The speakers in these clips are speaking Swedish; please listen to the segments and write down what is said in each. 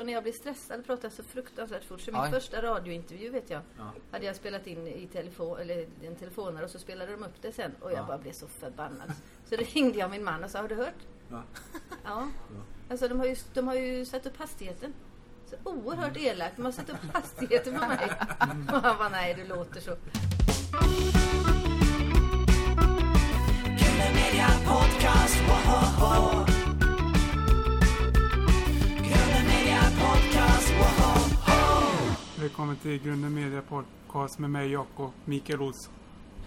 och när jag blir stressad pratar jag så fruktansvärt fort. Så min Aj. första radiointervju vet jag, Ja. hade jag spelat in i telefon, eller i en telefonare och så spelade de upp det sen och jag Ja. bara blev så förbannad. Så ringde jag min man och sa, har du hört? Ja. Ja. Ja. Alltså de har, ju, de har ju satt upp hastigheten. Så oerhört elakt. De har satt upp hastigheten på mig. Och han bara, nej du låter så. Välkommen till Grunden Media Podcast med mig Jakob Mikael Olsson.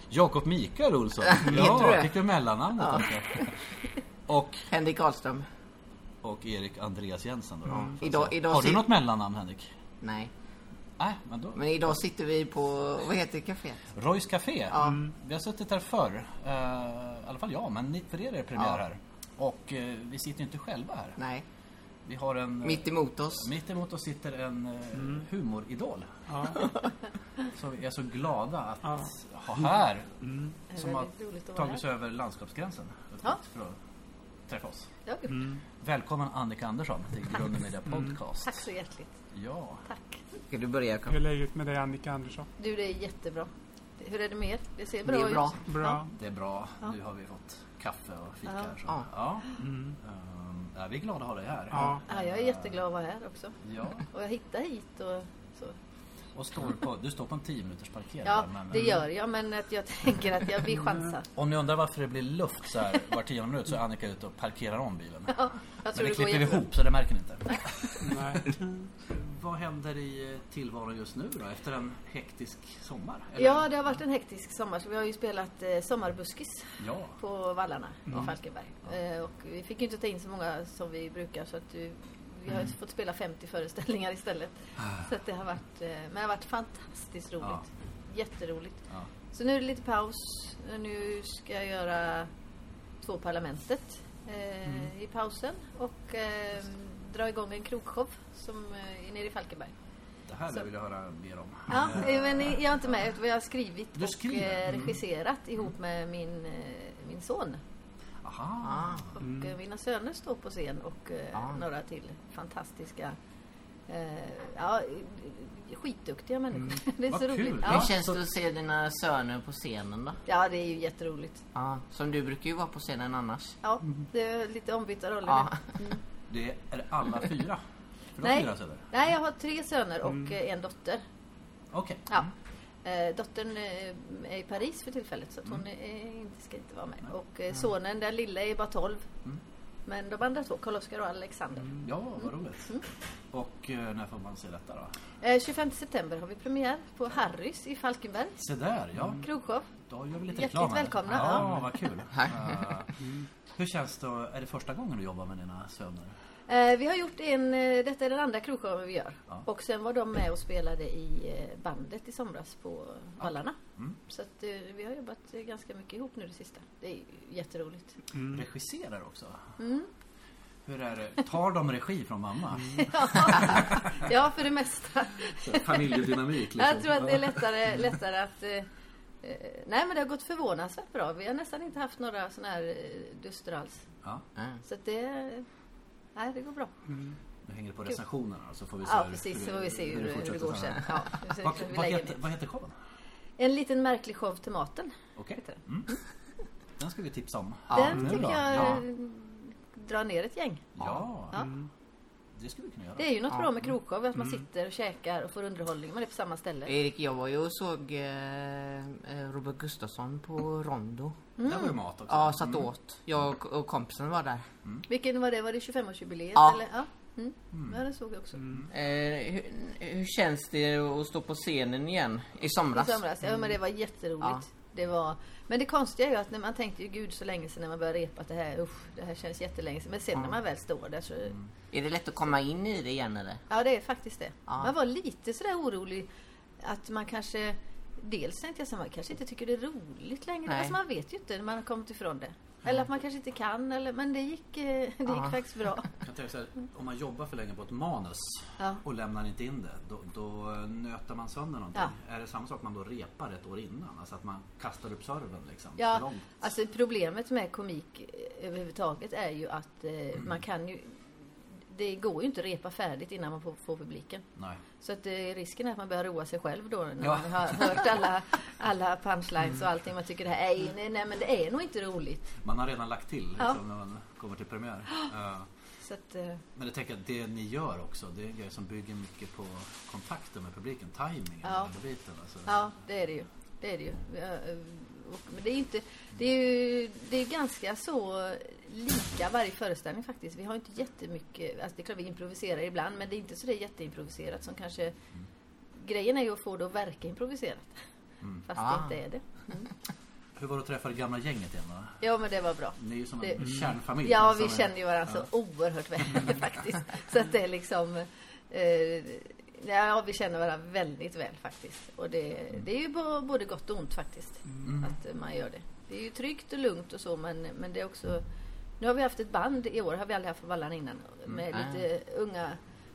Jakob Mikael Olsson. Heter du Ja, det? fick du mellannamnet också. Och, Henrik Ahlström. och Erik Andreas Jensen då. får jag Idag- säga. idag Mm. Har du ser- något mellannamn Henrik? Nej. Nej, men då. Men idag sitter vi på, vad heter caféet? Roys Café. Vi har suttit här förr. Eh, I alla fall jag, men ni- för er är det premiär Ja. här. Och eh, vi sitter ju inte själva här. Nej. Vi har en... eh, Mitt emot oss. Mitt emot oss sitter en eh, humoridol. Ja. Som vi är så glada att Ja. ha här. Mm. Det är Som har väldigt roligt att vara tagit här. sig över landskapsgränsen. Ja. För att träffa oss. Ja, gud. Välkommen Annika Andersson till Grunden Media Podcast. Mm. Tack så hjärtligt. Ja. Tack. Ska du börja Jakob? Hur är läget med dig Annika Andersson? Du, det är jättebra. Hur är det med er? Det ser Det bra är bra. ut. Bra. Det är bra. Nu har vi fått kaffe och fika här. Så. Ja. Ja. Ehm, ja, vi är glada att ha dig här. Ja. Mm. Ja, jag är jätteglad att vara här också. Ja. Och jag hittar hit och så. Och står på, du står på en 10 minuters parkering. Ja, där, men- det gör jag. Men att jag tänker att jag vi chansar. Om ni undrar varför det blir luft så här var tionde minut så är Annika ute och parkerar om bilen. Ja, jag Mm. Men tror det det går klipper vi jättebra. ihop så det märker ni inte. Nej. Vad händer i eh, tillvaron just nu då efter en hektisk sommar? Eller- Ja, det har varit en hektisk sommar. Så vi har ju spelat eh, sommarbuskis ja. på vallarna Mm. i Falkenberg. Eh, och vi fick ju inte ta in så många som vi brukar så att vi, vi Mm. har ju fått spela 50 föreställningar istället. Ah. Så att det har varit, eh, men det har varit fantastiskt roligt. Ja. Jätteroligt. Ja. Så nu är det lite paus. Nu ska jag göra två Parlamentet eh, Mm. i pausen och eh, dra igång en krogshow som eh, är nere i Falkenberg. Det här Så- vill jag höra mer om. Ja, eh, men jag är inte med. utan Jag har skrivit Du Mm. och skriver? eh, regisserat ihop med min, eh, min son. Aha. Ah. Och Mm. eh, mina söner står på scen och eh, Ah. några till fantastiska eh, ja, skitduktiga människor. det är Mm. Vad så kul. roligt. Hur Ja. känns det att se dina söner på scenen då? ja, det är ju jätteroligt. Ja. Som du brukar ju vara på scenen annars. Ja, Mm. det är lite ombytta roller Ja. Ah. nu. Mm. Det är alla fyra? För de Nej. fyra söner? Nej, jag har tre söner och eh, en dotter. Okej. Ja. Eh, dottern eh, är i Paris för tillfället så att hon är, inte, ska inte vara med. Och eh, sonen, den lilla, är bara 12. Men de andra två, Karl-Oskar och Alexander. Ja, vad roligt. Mm. Och eh, när får man se detta då? Eh, 25 september har vi premiär på Harrys i Falkenberg. Se där, ja. Krogshow. Då gör vi Mm. lite Hjärtligt reklam. här. välkomna, Ja, ja. vad kul. Eh, mm, hur känns det? att- Är det första gången du jobbar med dina söner? Eh, vi har gjort en, eh, detta är den andra krogshowen vi gör. Ja. Och sen var de med och spelade i eh, bandet i somras på Vallarna. Så att, eh, vi har jobbat eh, ganska mycket ihop nu det sista. Det är ju jätteroligt. mm. Mm. Regisserar också? Hur är det? Tar de regi från mamma? Ja, för det mesta. Familjedynamik liksom. Jag tror att det är lättare, lättare att... Eh, eh, nej, men det har gått förvånansvärt bra. Vi har nästan inte haft några sådana här eh, duster alls. Ja, Så att det... Nej, det går bra. Mm. nu hänger det på recensionerna så får vi se Ja, hur- precis. Så får vi se hur, hur det det fortsätter går sen. här. Ja, precis. Vad, Vi vad, lägger heter, ner. vad heter showen? En liten märklig show till maten. Okej. Heter Mm. Den ska vi tipsa om. Den nu tycker då? jag Ja. eh, drar ner ett gäng. Ja. Ja. Mm. Det skulle vi kunna göra. Det är ju något bra med krogshow, att man sitter och käkar och får underhållning. Man är på samma ställe. Erik, jag var ju och såg eh, eh, Robert Gustafsson på Rondo. Mm. Där var ju mat också. Ja, satt åt. Jag och- och kompisen var där. Vilken var det? Var det 25-årsjubileet? Ja. Eller? Ja. Mm. ja, den såg jag också. Eh, hur, hur känns det att stå på scenen igen? I I somras? somras. Ja, men det var jätteroligt. Ja. Det var... Men det konstiga är ju att när man tänkte ju gud så länge sedan när man började repa att det här, usch, det här känns jättelänge sedan. Men sen när man väl står där så... Är det lätt att komma in i det igen eller? Ja, det är faktiskt det. Ja. Man var lite sådär orolig att man kanske... Dels tänkte jag så här, man kanske inte tycker det är roligt längre. Nej. Alltså man vet ju inte när man har kommit ifrån det. Eller att man kanske inte kan, eller, men det gick, eh, det gick Ja. faktiskt bra. Jag tänker så här, om man jobbar för länge på ett manus Ja. och lämnar inte in det, då, då eh, nöter man sönder någonting. Ja. Är det samma sak man då repar ett år innan? Alltså att man kastar upp serven liksom? för Ja, långt? alltså problemet med komik eh, överhuvudtaget är ju att eh, man kan ju... det går ju inte att repa färdigt innan man får, får publiken. Nej. Så att eh, risken är att man börjar roa sig själv då när Ja. man har hört alla, alla punchlines och allting. Man tycker det här är, nej, nej men det är nog inte roligt. Man har redan lagt till Ja. liksom, när man kommer till premiär. Eh, Så att, eh, Men jag tänker att det ni gör också, det är grejer som bygger mycket på kontakten med publiken, tajmingen Ja. och den biten. Alltså. ja det är det ju. Det är det ju. Eh, eh, Och, men det är inte, det är ju det är ganska så lika varje föreställning faktiskt. Vi har inte jättemycket, alltså det är klart vi improviserar ibland men det är inte så det är jätteimproviserat som kanske Grejen är ju att få det att verka improviserat. Mm. Fast Ah. det inte är det. Hur var det att träffa det gamla gänget igen då? Ja men det var bra. Ni är ju som en Det- kärnfamilj. Ja, som vi är- kände ju varandra så oerhört väl faktiskt. Så att det är liksom... Eh, ja, vi känner varandra väldigt väl faktiskt. Och det, det är ju bo- både gott och ont faktiskt. Mm. Att eh, man gör det. Det är ju tryggt och lugnt och så men, men det är också... Nu har vi haft ett band i år, har vi aldrig haft på Vallan innan. Mm, Med Ah. lite unga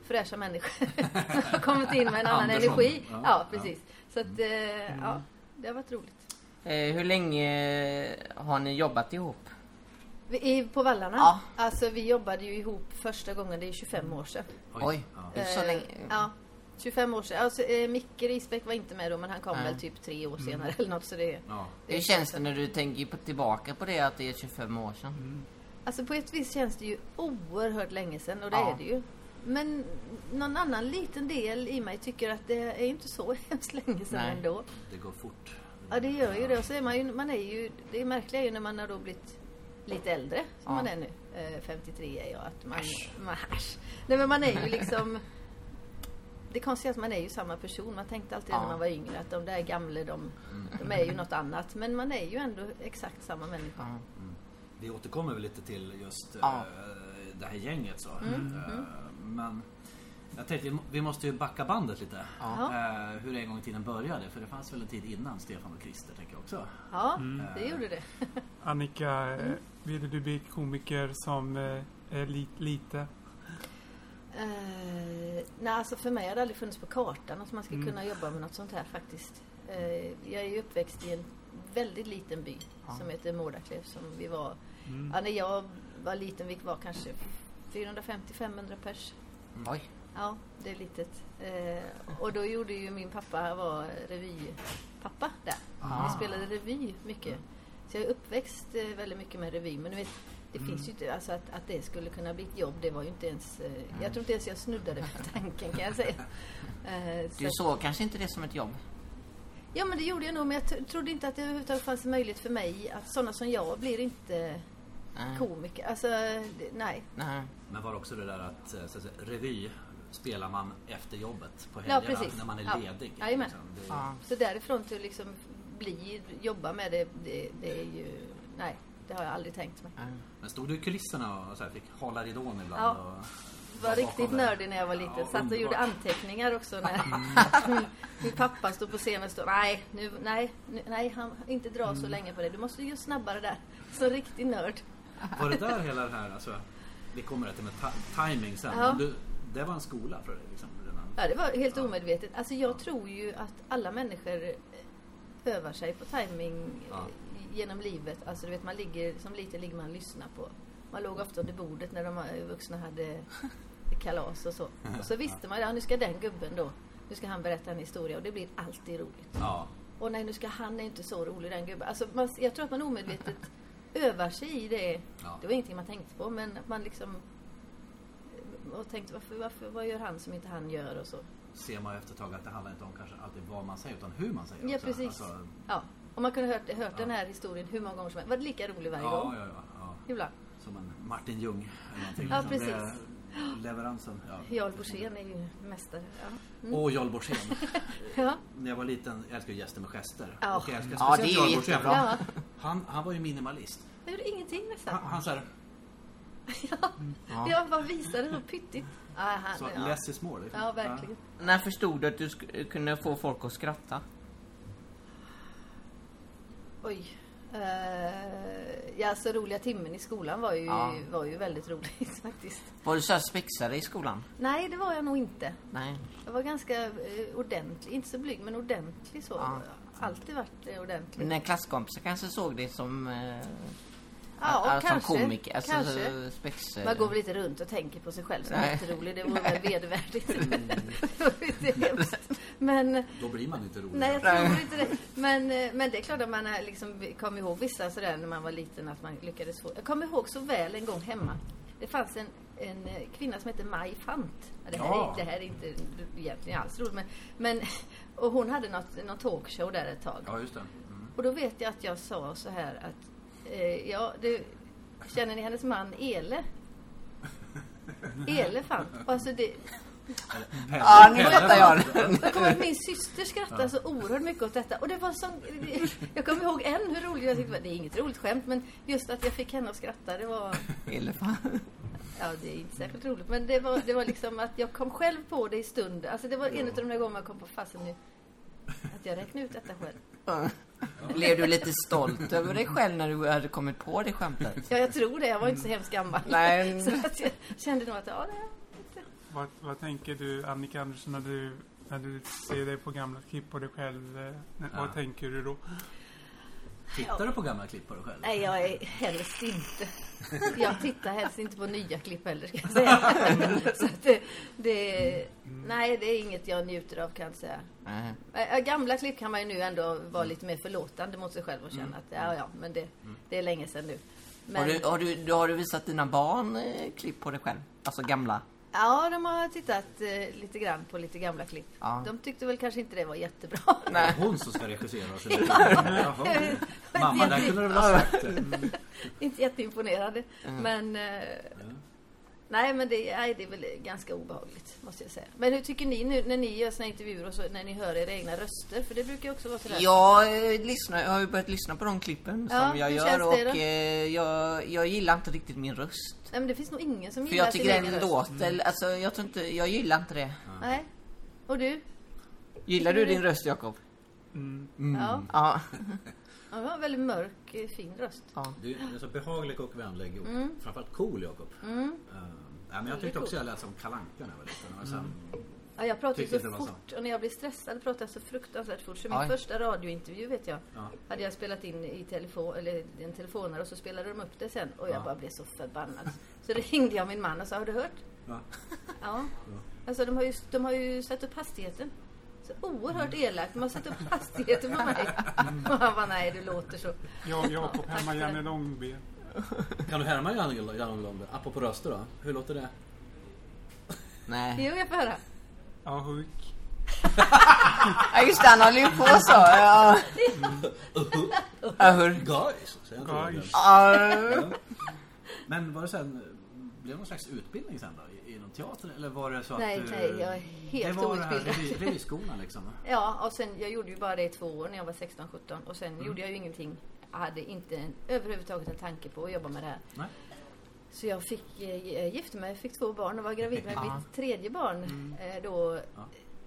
fräscha människor som har kommit in med en annan Andersson. energi. Ja, Ja, ja. Mm. precis. Så att, eh, ja, det har varit roligt. Eh, hur länge har ni jobbat ihop? Vi, i- på Vallarna? Ja. Alltså vi jobbade ju ihop första gången, det är 25 år sedan. Oj. Ja. Så Eh, länge. Ja, 25 år sedan. Alltså, eh, Micke Risbäck var inte med då, men han kom Nej. Mm. väl typ tre år senare eller något. Så det, Ja. Hur känns det när du tänker på, tillbaka på det att det är 25 år sedan? Alltså på ett vis känns det ju oerhört länge sedan och det Ja. är det ju. Men någon annan liten del i mig tycker att det är inte så hemskt länge sedan Nej. ändå. Det går fort. Ja, det gör ju det. Och så är man ju, man är ju, det märkliga är ju när man har då blivit lite äldre, som Ja. man är nu. Eh, 53 är jag. Att man, man, äsch. Nej, men man är ju liksom... Det konstiga är att man är ju samma person. Man tänkte alltid Ja. Mm. när man var yngre att de där gamla, de, de är ju något annat. Men man är ju ändå exakt samma människa. Ja. Vi återkommer väl lite till just eh, Ja. det här gänget så. Mm, Eh, Men jag tänkte, vi måste ju backa bandet lite. Ja. Eh, Hur det en gång i tiden började. För det fanns väl en tid innan Stefan och Christer tänker jag också. Ja, det gjorde det. Annika, mm. ville du bli komiker som eh, är li- lite? Eh, nej, alltså för mig har det aldrig funnits på kartan att man ska kunna jobba med något sånt här faktiskt. Eh, jag är ju uppväxt i en väldigt liten by som heter Mårdaklev som vi var, Mm. ja, när jag var liten, vi var kanske 450-500 pers. Oj. Ja, det är litet. Eh, och då gjorde ju min pappa, var revypappa där. Ah. Vi spelade revy mycket. Så jag är uppväxt eh, väldigt mycket med revy. Men du vet, det finns ju Mm. inte, alltså att, att det skulle kunna bli ett jobb, det var ju inte ens... Eh, jag tror inte ens jag snuddade vid tanken kan jag säga. Eh, Du så- såg kanske inte det som ett jobb? Ja men det gjorde jag nog, men jag t- trodde inte att det överhuvudtaget fanns en möjlighet för mig att sådana som jag blir inte Nej. komiker. Alltså, det, nej. Nej. Men var också det där att, eh, så att säga, revy spelar man efter jobbet på Ja, helgerna precis. när man är Ja. ledig. liksom. Jajamän. Det- Ja. Så därifrån till liksom bli, jobba med det, det, det är ju... Nej, det har jag aldrig tänkt mig. Nej. Men stod du i kulisserna och så här, fick hålla ridån ibland? Ja. Och var riktigt bakom det? nördig när jag var liten. Ja, Satt och gjorde underbart. anteckningar också. När min, min pappa stod på scenen och stod nej, nu, nej, nu, nej, han, inte dra Mm. så länge på det. Du måste ju snabbare där. Så riktig nörd. Var det där hela den här, alltså, vi kommer till med ta- timing sen. Ja. Men du, det var en skola för dig liksom, redan. Ja, det var helt omedvetet. Alltså jag tror ju att alla människor eh, övar sig på timing eh, Ja. genom livet. Alltså du vet, man ligger, som liten ligger man och lyssnar på. Man låg ofta under bordet när de eh, vuxna hade kalas och så. Och så visste man, ja nu ska den gubben då, nu ska han berätta en historia och det blir alltid roligt. Ja. Åh nej, nu ska han är inte så rolig den gubben. Alltså, man, jag tror att man omedvetet övar sig i det. Ja. Det var ingenting man tänkte på, men att man liksom... eh, Och tänkte, varför, varför, vad gör han som inte han gör och så. ser man ju efter ett tag att det handlar inte om kanske alltid vad man säger utan hur man säger Ja, också. precis. Alltså, Ja. Och man kunde ha hört, hört den här historien hur många gånger som helst. Var det lika rolig varje ja, gång? ja, ja, ja. Ibland. Som en Martin Ljung eller någonting. Ja, Som precis. det- Leveransen. Ja. Jarl Borssén är ju mästare. Ja. Och Jarl Borssén. Eh, Ja. När jag var liten, jag älskade ju gäster med gester. Ja. Och jag älskar Ja, speciellt det är Jarl Borssén. jättebra. ja. Han, han var ju minimalist. Jag gjorde ingenting nästan. Han, han så här, Ja. Jag bara visade hur pyttigt. Ja, han, så ja. less is more. liksom. ja, verkligen. När förstod du att du sk- kunde få folk att skratta? Oj. Eh, ja, så roliga timmen i skolan var ju, Ja. var ju väldigt roligt faktiskt. Var du så här spexare i skolan? Nej, det var jag nog inte. Nej. Jag var ganska eh, ordentlig, inte så blyg, men ordentlig så. Ja. Alltid varit eh, ordentlig. Mina klasskompisar kanske såg dig som... Eh, Ja, alltså, kanske, Som komiker. Alltså, kanske. Så, spex... Man går väl inte runt och tänker på sig själv som Eh. Nej. jätterolig. Det vore väl vedervärdigt. Mm. Det vore inte hemskt. Men Då blir man inte rolig. Nej, jag tror inte det. Men, eh, men det är klart att man är liksom kom ihåg vissa sådär när man var liten att man lyckades få. Jag kommer ihåg så väl en gång hemma. Det fanns en, en eh, kvinna som hette Maj Fant. Ja, Det här, Ja. är, det här är inte egentligen alls roligt. Men, men, och hon hade något, någon talkshow där ett tag. Ja, just det. Mm. Och då vet jag att jag sa så här att eh, ja, du, känner ni hennes man Ele? Ele Fant. Och Alltså det, Pelle- Ja, nu Pelle- fattar jag det. jag kommer ihåg att min syster skrattade så oerhört mycket åt detta. Och det var så, jag kommer ihåg än hur roligt jag tyckte det var. Det är inget roligt skämt, men just att jag fick henne att skratta, det var... Elefant. Ja, det är inte särskilt roligt, men det var, det var liksom att jag kom själv på det i stund. Alltså det var en av de där gångerna jag kom på, fasen nu, att jag räknade ut detta själv. Blev du lite stolt över dig själv när du hade kommit på det skämtet? Ja, jag tror det. Jag var inte så hemskt gammal. Nej. Så att jag kände nog att, ja, det Vad, vad tänker du, Annika Andersson, när du, när du ser det programmet Klipp på dig själv? eh, när- Ja. Vad tänker du då? Tittar du på gamla klipp på dig själv? Nej, jag är helst inte. Jag tittar helst inte på nya klipp heller, ska jag säga. Så att det, det, nej, det är inget jag njuter av, kan jag säga. Nej. Ä- ä, Gamla klipp kan man ju nu ändå vara lite mer förlåtande mot sig själv och känna att ja, ja, men det, det är länge sedan nu. Har, Men, du, har, du, då har du visat dina barn eh, klipp på dig själv? Alltså gamla? ja, de har tittat eh, lite grann på lite gamla klipp. Ja. De tyckte väl kanske inte det var jättebra. Det är Nej. hon som ska regissera. Så det Jaha. Mamma, där kunde du väl ha sagt det. inte jätteimponerade. Men, eh, nej, men det, nej, det är väl ganska obehagligt, måste jag säga. Men hur tycker ni nu när ni gör såna intervjuer och så, när ni hör era egna röster? För det brukar ju också vara sådär. Jag, eh, lyssnar, jag har ju börjat lyssna på de klippen Ja, som jag hur gör känns det och då? eh, jag, jag gillar inte riktigt min röst. Nej, men det finns nog ingen som För gillar jag tycker sin den egen röst. Mm. låter, alltså jag tror inte, jag gillar inte det. Nej. Och du? Gillar du din röst Jakob? Mm. Mm. Ja. Ja. ja, du har en väldigt mörk, eh, fin röst. Du är så behaglig och vänlig och Mm. framförallt cool Jakob. Eh, nej, men jag tyckte också jag lät som Kalle Anka när jag var liten. Men sen, Ja, jag pratar ju Tyckte så inte det var fort och när jag blir stressad pratar jag så fruktansvärt fort. Så min Aj. första radiointervju vet jag, Ja. hade jag spelat in i telefon, eller i en telefonare och så spelade de upp det sen och jag bara blev så förbannad. Så ringde jag min man och sa, har du hört? Ja. Ja. Alltså de har, ju, de har ju satt upp hastigheten. Så oerhört Mm. elakt. De har satt upp hastigheten på mig. Och han bara, nej du låter så. Jag, Jakob Tack hemma, för Janne det. Långben. Kan du härma Janne Lundberg? Apropå röster då. Hur låter det? Nej. Jo, jag får höra. Ja, huk. Ja just det, han håller ju på så. Ja. Uh, Ja, hur? Guys! säger han till Guys. Lundberg. Ja. Men var det sen... Blev det någon slags utbildning sen då? I, i någon teater? Eller var det så Nej, att du... nej, jag är helt Det var det här outbildad. revy- revyskolan liksom. Ja, och sen, jag gjorde ju bara det i två år när jag var 16-17 och sen Mm. gjorde jag ju ingenting. Jag hade inte en, överhuvudtaget en tanke på att jobba med det här. Nej. Så jag fick, eh, gifte mig, fick två barn och var gravid med mitt tredje barn eh, då Mm. Ja.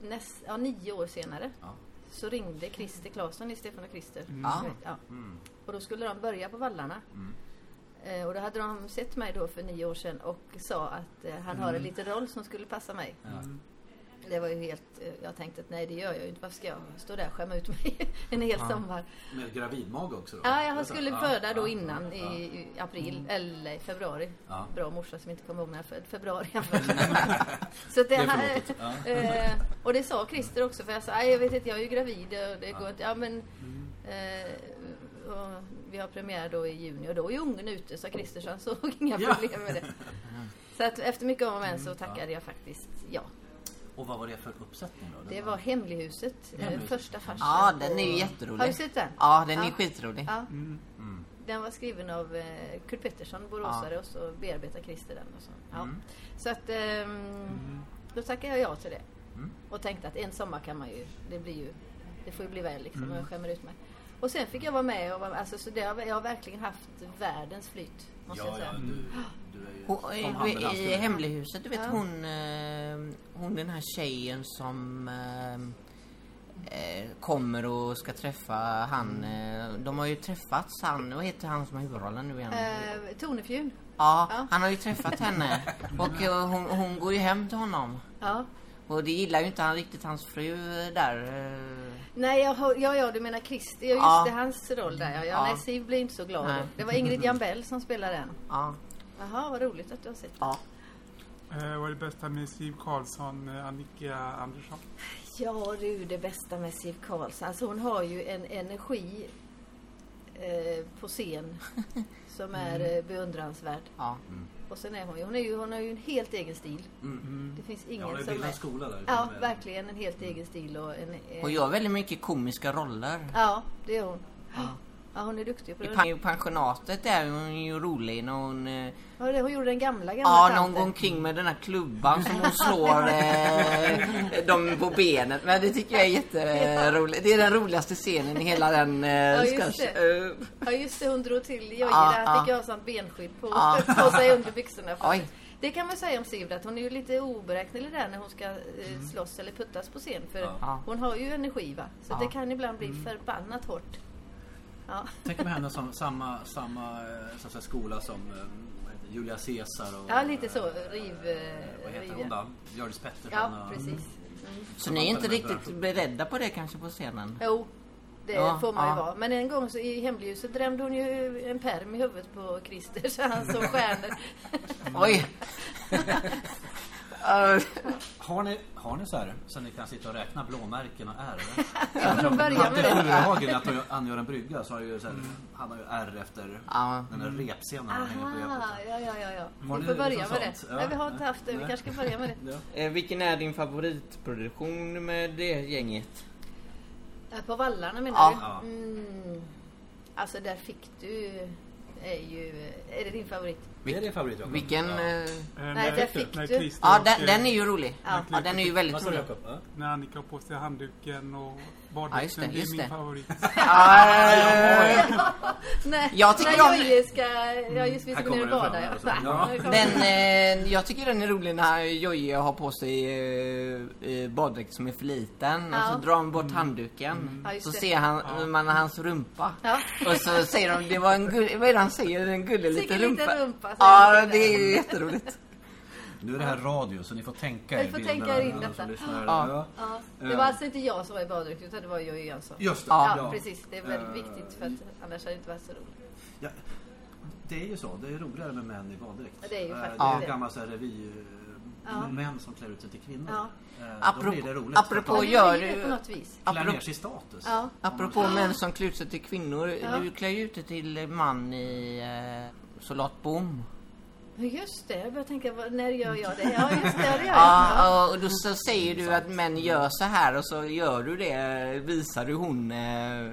näst, ja, nio år senare. Ja. Mm. Så ringde Christer Claesson i Stefan och Christer. Ja. Ja. Och då skulle de börja på vallarna. Eh, och då hade de sett mig då för nio år sedan och sa att eh, han har en liten roll som skulle passa mig. Mm, Det var ju helt, eh, jag tänkte att nej det gör jag ju inte. Varför ska jag stå där och skämma ut mig en hel sommar? Med gravidmage också då? Ja, Var det Alltså, jag så? skulle Ja, föda då ja, innan ja. Mm. i i april eller i februari. Ja. Mm. Bra morsa som inte kommer ihåg när jag född. Februari jag född. Så att det Det är här, förlåtet. Ja. eh, och det sa Christer också för jag sa, "Aj, jag vet inte, jag är ju gravid och det går inte, ja men Mm. eh, och vi har premiär då i juni och då är ungen ute sa Christer så han såg inga Ja. Mm, problem med det. Så att efter mycket om och men så tackade jag faktiskt ja. Och vad var det för uppsättning då? Det var Hemlighuset, eh, Hemlighuset. första farsan. ja, den är ju Har du jätterolig. sett den? Ja, den är Ja. skitrolig. Ja. mm, Mm. Den var skriven av eh, Kurt Pettersson, boråsare, och så bearbetade Christer den. Och så. Ja. Mm. så att ehm, mm. då tackade jag ja till det. Mm. Och tänkte att en sommar kan man ju, det blir ju, det får ju bli väl liksom, Mm. och jag skämmer ut mig. Och sen fick jag vara med och vara med, alltså, så det har, jag har verkligen haft världens flyt. Måste Ja, jag ja, säga. du, du är ju... Hon, som han i, med I handsken. hemlighuset, du vet hon, eh, hon den här tjejen som eh, eh, kommer och ska träffa han. Eh, Mm. de har ju träffats han, vad heter han som har huvudrollen nu igen? Eh, Tornefjun. ja, ja. han har ju träffat henne. Och eh, hon, hon går ju hem till honom. Ja. Och det gillar ju inte han riktigt, hans fru eh, där. eh. Nej, jag, hör- ja, ja, du menar Christer. Ja, just Ja. det, hans roll där. Ja, ja, Ja. Nej, Siv blir inte så glad. Nej. Det var Ingrid Jambell som spelade den. Ja. Jaha, vad roligt att du har sett den. ja. Eh, vad är det bästa med Siv Karlsson, eh, Annika Andersson? Ja du, det bästa med Siv Karlsson. Alltså hon har ju en energi eh, på scen som är eh, beundransvärd. ja. Och sen är hon ju, hon, är ju, hon har ju en helt egen stil. Mm, Mm. Det finns Ja, ingen det som bildar är... Mm. en skola där. Ja, Med- verkligen en helt egen stil och en... eh, Hon gör väldigt mycket komiska roller. Ja, det är hon. Ja, hon är duktig på I det. pan- i pensionatet där är hon ju rolig när hon... eh, Ja, det hon gjorde den gamla, gamla Ja, tanten. någon går omkring med den här klubban som hon slår eh, dem på benet. Men det tycker jag är jätteroligt. Det är den roligaste scenen i hela den eh, just sketch- det. eh, Ja just det, hon drog till Jojje Ja, där. Han fick ja. ju ha sånt benskydd på, Ja. på sig under byxorna. för- ah. Oj. Det kan man säga om Siv, att hon är ju lite oberäknelig där när hon ska eh, Mm. slåss eller puttas på scen. För Ja. hon har ju energi va. Så Ja. det kan ibland Mm. bli förbannat hårt. Ja, Tänk med henne som samma, samma eh, så att säga, skola som eh, vad heter det, Julia Caesar och... ja lite så. eh, Riv... eh, Vad Eh, heter riv hon ja. då? eh, Hjördis Pettersson? ja, och- Mm. precis. Mm. Så ni är inte riktigt beredda på det kanske på scenen? Jo, det Ja, får man ju ja. vara. Men en gång så i hemljuset drämde hon ju en perm i huvudet på Christer så han såg stjärnor. Oj! Eh, Har ni, har ni så här så ni kan sitta och räkna blåmärken och ärr? de börjar med Ante det. Mm. Furuhagen, att han- han gör en brygga, så har ju så här, han har ju ärr efter Ja. den där repscenen han hänger på Aha, repet. ja, ja, ja. ja. Har Vi ni får börja liksom med det. sånt? Ja. Nej, vi har inte Nej. haft det. Vi Nej. kanske ska börja med det. Ja. eh, vilken är din favoritproduktion med det gänget? Äh, På vallarna menar Ja. Ja. du? Mm. Alltså, där fick du... Är ju... Är det din favorit? Det är din favorit Jakob? Vilken... Ja. eh, Eh, Nej, där fick när du. Christer Ja, och, den, eh, den är ju rolig. Ja. Ja, den är ju Vad väldigt sa du rolig. Jakob? Ja. När Annika har på sig handduken och Ja, just badbyxor. det, det, just är min det. favorit. Ja, eh, Nej, Jag tycker när om- Joje ska... Ja, just vi Här ska gå ner och kommer bada. det Ja. fram, alltså. Ja. Den, eh, jag tycker den är rolig när Jojje har på sig eh, eh, baddräkt som är för liten och Ja. Mm. så drar han bort handduken. Ja, just så det. ser han, man hans rumpa. Ja. Och så säger de, det var en gull, vad är det han säger? En gullig liten Sicken liten rumpa. rumpa, säger ja, han. det är jätteroligt. Nu är det här radio, så ni får tänka Ni er får bilderna, tänka er in alla detta. som lyssnar. Ja. Ja. Ja. Det var alltså inte jag som var i baddräkt, utan det var Jojje Jönsson. Just det. Ja, Ja. precis. Det är väldigt Eh, viktigt, för att annars hade det inte varit så roligt. Ja, det är ju så. Det är roligare med män i baddräkt. Det är ju Eh, faktiskt det. är det. ju gamla så här revy... eh, Ja. Män som klär ut sig till kvinnor. Ja. Eh, Då blir Apropå- det roligt. apropå- För Och Men att gör det är du- på något vis. de klär Apropå- ner sig i status. Ja. Apropå män som klär ut sig till kvinnor. Du klär ju ut dig till man i eh, Soldat Boom. Men Just det, jag börjar tänka, vad- när gör jag det? Ja, just det, det gör jag. Ja. Ja, och då så säger du att män gör så här och så gör du det, visar du hon eh,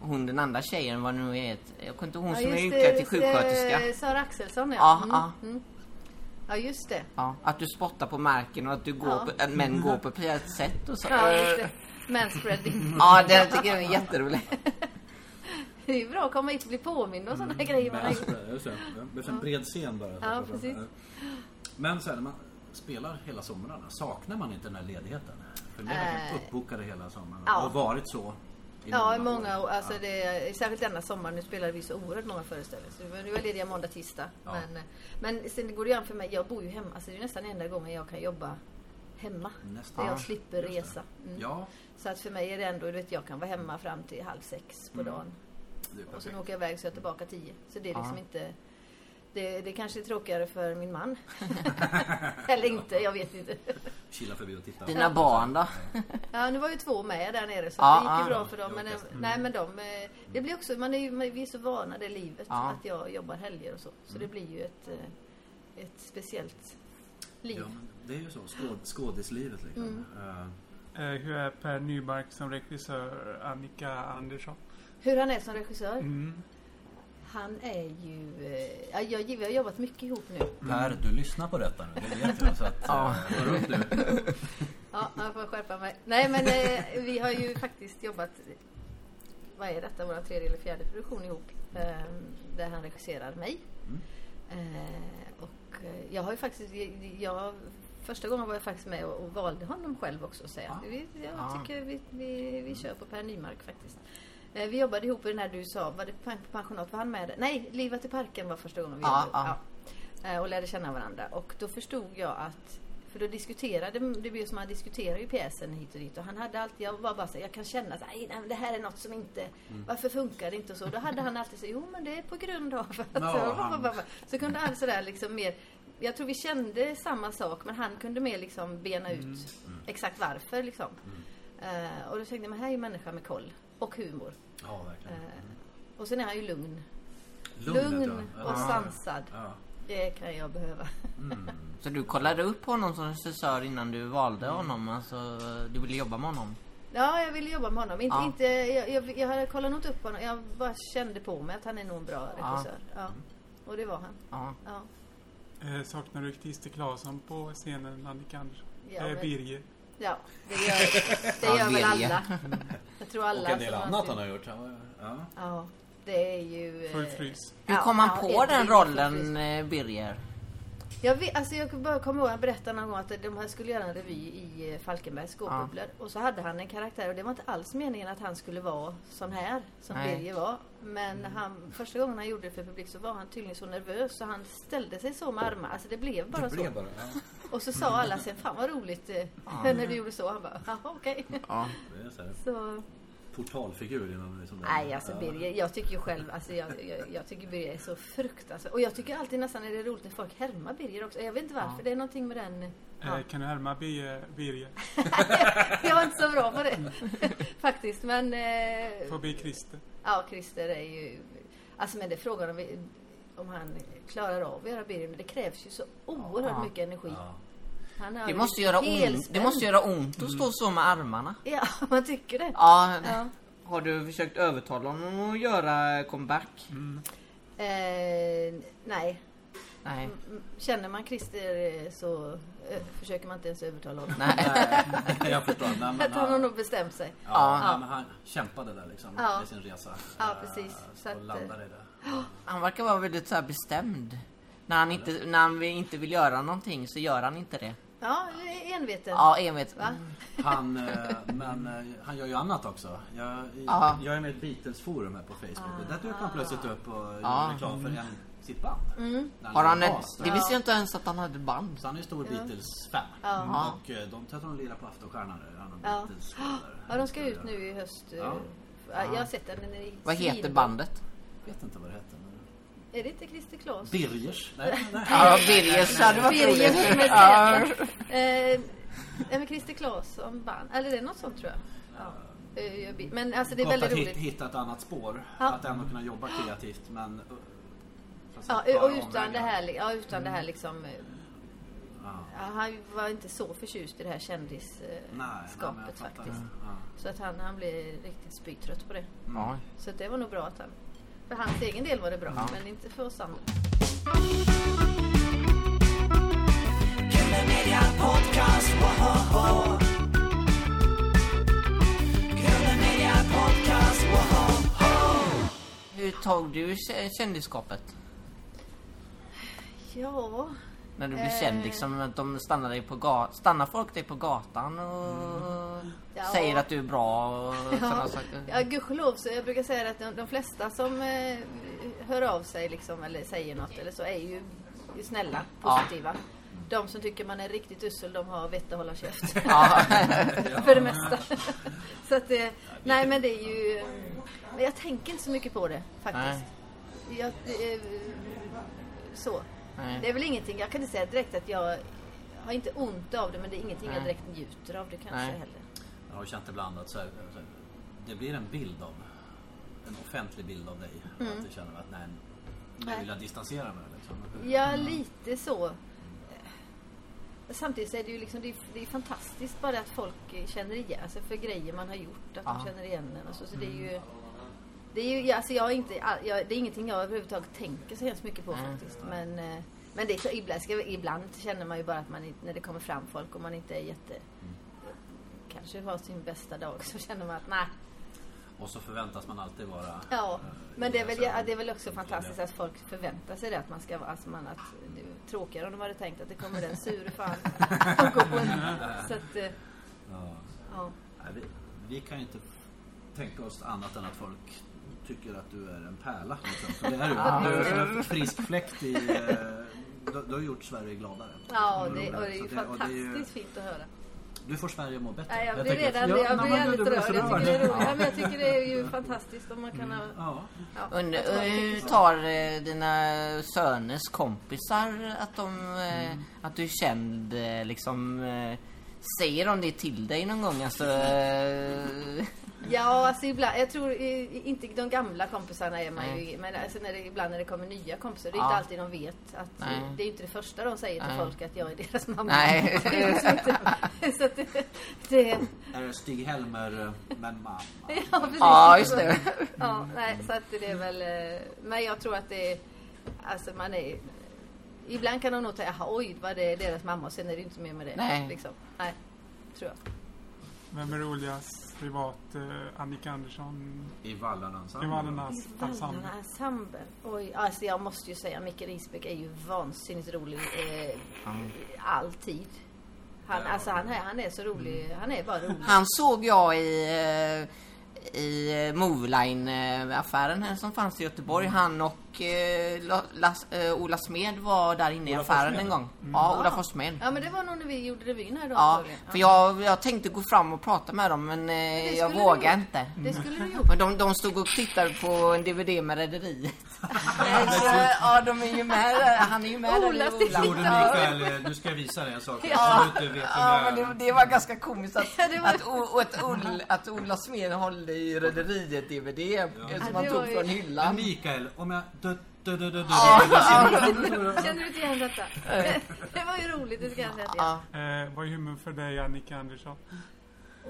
hon den andra tjejen vad nu är ett- jag kommer inte ihåg, hon Ja, som är just utklädd till just sjuksköterska. eh, Sara Axelsson, ja. Ja, Mm, ja. Mm. ja, just det. Ja, att du spottar på marken och att, du går Ja. på, att män går på ett sätt och så. eh, Ja, just det. Manspreading. Ja, den tycker jag är jätterolig. Det är ju bra att komma hit och bli påmind om Mm, sådana grejer man har Men, alltså, gjort. just det. Det behövs en bred scen bara. Ja, precis. Men sen när man spelar hela somrarna, saknar man inte den här ledigheten? För ni är verkligen Äh. uppbokade hela sommaren. Ja. Har varit så i Ja, i många år. Alltså Ja. det, särskilt denna sommar. Nu spelade vi så oerhört många föreställningar. Så vi var lediga måndag, tisdag. Ja. Men, eh, men sen det går det ju an för mig. Jag bor ju hemma. Alltså det är nästan enda gången jag kan jobba hemma. Nästan. Där jag Ja, slipper just det. resa. Mm. Ja, Så att för mig är det ändå, du vet jag kan vara hemma fram till halv sex på Mm. dagen. det är Och perfekt. sen åker jag iväg så är jag tillbaka tio. Så det är liksom Ja. inte... Det, det kanske är tråkigare för min man. Eller inte, jag vet inte. Kila förbi och titta. Dina barn då? Ja, nu var ju två med där nere så Ja, det gick ju ja. bra för dem. Men, Ja, nej, men de, eh, det blir också, man är ju, man, vi är så vana det livet Ja. att jag jobbar helger och så. Så det blir ju ett, eh, ett speciellt liv. Mm. Ja, men det är ju så. Skåd, skådislivet liksom. Eh, Eh, hur är Per Nymark som regissör, Annika Andersson? Hur han är som regissör? Mm. Han är ju... eh, ja, jag, vi har jobbat mycket ihop nu. Per, du lyssnar på detta nu. Det vet jag. Så att, ja. hör upp nu. Ja, jag får skärpa mig. Nej, men eh, vi har ju faktiskt jobbat... Vad är detta? Vår tredje eller fjärde produktion ihop. Eh, där han regisserar mig. Mm. Eh, och eh, jag har ju faktiskt... Jag, jag, första gången var jag faktiskt med och, och valde honom själv också. Så jag, vi, jag Ja. tycker vi, vi, vi kör på Per Nymark faktiskt. Eh, vi jobbade ihop i den här du sa, var det pen- pensionat? Var han med? där? Nej, Livet i parken var första gången vi Ja, jobbade. ja. Ja. Eh, och lärde känna varandra. Och då förstod jag att För då diskuterade, det blev som han diskuterade ju pjäsen hit och dit och han hade alltid, jag var bara så här, jag kan känna så här, "Aj, nej, men det här är något som inte, Mm. varför funkar det inte och så? Då hade han alltid så, jo men det är på grund av att... Ja, han- Så kunde han sådär liksom mer, jag tror vi kände samma sak men han kunde mer liksom bena ut Mm, exakt varför liksom. Eh, och då tänkte jag, men här är ju människa med koll och humor. Ja, verkligen. Och sen är han ju lugn. Lugnet, Eh, Lugn ja. och Ja. sansad. Ja. Det kan jag behöva. Så du kollade upp honom som regissör innan du valde honom? Alltså, du ville jobba med honom? Ja, jag ville jobba med honom. Inte, Ja. inte, jag, jag, jag hade kollat något upp på honom. Jag bara kände på mig att han är nog en bra Ja. regissör. Ja. Och det var han. Ja. Ja. Eh, saknar du Christer Claesson på scenen, Annika Andersson? Ja, eh, men- Birger. ja, det gör, det Ja, gör väl vilja. alla. Jag tror alla. Och en del som annat ser- han har gjort. Han var- Ja. Ja, det är ju... eh, Full frys. Hur ja, kom han ja, på helt den riktigt rollen, precis. eh, Birger? Jag, vet, alltså jag bara kommer ihåg, han berättade någon gång att de här skulle göra en revy i eh, Falkenbergs skåpbubblor. Och så hade han en karaktär och det var inte alls meningen att han skulle vara sån här, som Nej. Birger var. Men han, första gången han gjorde det för publik så var han tydligen så nervös så han ställde sig så med armarna. Alltså det blev bara så. Blev bara. Ja. Och så sa alla sen, fan vad roligt eh, när du gjorde så. Han bara, "Jaha, okej. Ja. Det är så här Så, portalfigur inom liksom det som det är. nej alltså Birger, jag tycker ju själv, alltså jag, jag, jag tycker Birger är så fruktansvärt. Och jag tycker alltid nästan är det roligt när folk härmar Birger också. Jag vet inte varför, det är någonting med den... ja. Eh, kan du härma Bir- Birger? Jag var inte så bra på det faktiskt. Men eh, Får bli Christer. ja, Christer är ju... Alltså men det är frågan om, vi, om han klarar av att göra Birger. Men det krävs ju så oerhört Ja. mycket energi. Ja. Han har Det ju måste göra ont. helspänn. Det måste göra ont att stå så med armarna. Ja, man tycker det. Ja. Ja. Har du försökt övertala honom att göra comeback? Eh, nej, Nej. M- känner man Christer eh, så eh, försöker man inte ens övertala honom. Nej. Nej, jag förstår. Nej, men Att han har han, ja, nog bestämt sig. Ja. Men han kämpade där liksom Ja. med sin resa. Ja, Eh, precis. Så att, och landade i det. Han verkar vara väldigt så här bestämd. När han, inte, när han inte vill göra någonting så gör han inte det. Ja, enveten. Ja, envet. Va? Han, eh, men eh, han gör ju annat också. Jag, Ja. jag är med i ett Beatles-forum här på Facebook. och Där dök han plötsligt upp och gjorde Ja. reklam för en, sitt band. När Har han var ett, bas där. det visste jag inte ens att han hade band. Så han är ju stor Beatles-fan. Ja. Och eh, de tror att de lirar på Aftonstjärnan nu. Han och Ja. Beatles spelar. Ja, de ska ut nu i höst. eh, Ja. ja, Jag har sett den. den är Vad heter svinbra. bandet? Jag vet inte vad det heter. Men... Är det inte Christer Claes? Birgers? Nej, nej. Ja, Birgers hade varit Birger roligt. med Z. Eh, nej, men Christer Claesson band. Eller det är något sånt tror jag. Ja. Eh, jag bi- Men alltså det är Gott väldigt att hit- roligt. hitta ett annat spår. Ja. Att ändå kunna jobba kreativt men... eh, fast Ja, att u- ta och utan omvägar. det här, li- ja, Mm. utan det här liksom... eh, ja, han var inte så förtjust i det här Nej, nej, men kändisskapet jag fattar faktiskt. det. Ja. Så att han, han blev riktigt spytrött på det. Ja. Så att det var nog bra att han... För hans egen del var det bra, men inte för oss andra. Hur tog du k- kändisskapet? Ja, När du blev Eh. känd liksom, att de stannar, dig på ga- stannar folk dig på gatan och Mm. Ja. säger att du är bra och sådana saker? Ja, gudskelov så jag brukar säga att de, de flesta som eh, hör av sig liksom, eller säger något eller så är ju är snälla, Ja. positiva. De som tycker man är riktigt ussel, de har vett att hålla käft. Ja. För det mesta. så att, eh, nej men det är ju... eh, Men jag tänker inte så mycket på det faktiskt. Jag, eh, så. Nej. Det är väl ingenting, jag kan inte säga direkt att jag har inte ont av det men det är ingenting jag Nej. direkt njuter av det kanske Nej. heller. Jag har känt ibland att så här, så här, det blir en bild av en offentlig bild av dig. Och Att du känner att nej, nu Mm. Nej. vill jag distansera mig. Liksom. Ja, lite så. Eh, Samtidigt så är det ju liksom, det är, det är fantastiskt bara att folk eh, känner igen sig för grejer man har gjort, att Ja. de känner igen en och så. så det är ju, det är ju, ja, alltså jag är inte, all- jag, det är ingenting jag överhuvudtaget tänker så hemskt mycket på faktiskt. Men, eh, men det är klart, ibland, ska, ibland känner man ju bara att man, inte- när det kommer fram folk och man inte är jätte, kanske har sin bästa dag så känner man att nej, Och så förväntas man alltid vara... Ja, men det är, väl, Alltså, ja, det är väl också fantastiskt att folk förväntar sig det. Att man ska vara, alltså man, att, det är tråkigare om de hade tänkt att det kommer den sure fan och går på en. Så att, eh, Ja. ja. Nej, vi, vi kan ju inte tänka oss annat än att folk tycker att du är en pärla. Liksom. Så det är du. Du är som en frisk fläkt i... eh, Du, du har gjort Sverige gladare. Ja, och det, och det är ju Mm, Så det- och det är ju- fantastiskt fint att höra. Du får Sverige att må bättre. Nej, jag blir tänker att- redan jag blir nej, men alldeles du blir så rörd. Jag tycker det är rörd. roligt. Ja, men jag tycker det är Mm. ju fantastiskt om man kan ha... Ja. Ja, Und, att man eh, tycker så. tar eh, dina söners kompisar att, de, eh, Mm. att du är känd eh, liksom? Eh, säger de det till dig någon gång? Alltså, eh, Ja, alltså ibland, jag tror eh, inte de gamla kompisarna är man ju, men alltså när det, ibland när det kommer nya kompisar, det är inte Ja. alltid de vet att, Nej. det är ju inte det första de säger till Nej. folk att jag är deras mamma. Nej. Det är liksom inte- så att det, det, Är det Stig-Helmer eh, men mamma? ja, precis. Ja, just det. Ja, nej, så att det är väl, eh, men jag tror att det är, alltså man är, ibland kan de nog säga, jaha oj, vad det är deras mamma och sen är det ju inte mer med det. Nej. Liksom. nej tror jag. Vem är roligast privat? Eh, Annika Andersson I Vallarna-ensemblen. i Vallarnas ensemble? Vallarna ensemble. Oj, alltså jag måste ju säga Micke Risbäck är ju vansinnigt rolig eh, alltid. Han, alltså han, är, han är så rolig. Mm. Han är bara rolig. han såg jag i, eh, i eh, Moveline eh, affären här som fanns i Göteborg. Mm. Han och eh, La- Las, eh, Ola Smed var där inne i Ola affären Forssmed. en gång. Ja, Ola Forssmed. Mm. Ja, men det var nog när vi gjorde revyn här då. Ja, antagligen. för jag, jag tänkte gå fram och prata med dem men Det eh, skulle jag du vågar gjort. Mm. inte. Det skulle du gjort. Men de, de stod och tittade på en DVD med Rederiet. Så, ja, de är ju med där. Han är ju med Ola där. i sitter Gjorde Mikael, eh, nu ska jag visa dig en sak. Ja. Du inte vet Ja, men vem det är. det, det var ganska komiskt att, Ja, det var- att, O- och att, Ol, att Ola Smed håller i Rederiet DVD som Ja, han det var tog ju- från Men hyllan. Mikael, om jag... dö- dö- dö- dö- dö- Känner du inte igen detta? Det var ju roligt, det ska jag säga. till er. Ja. Eh, vad är humorn för dig Annika Andersson?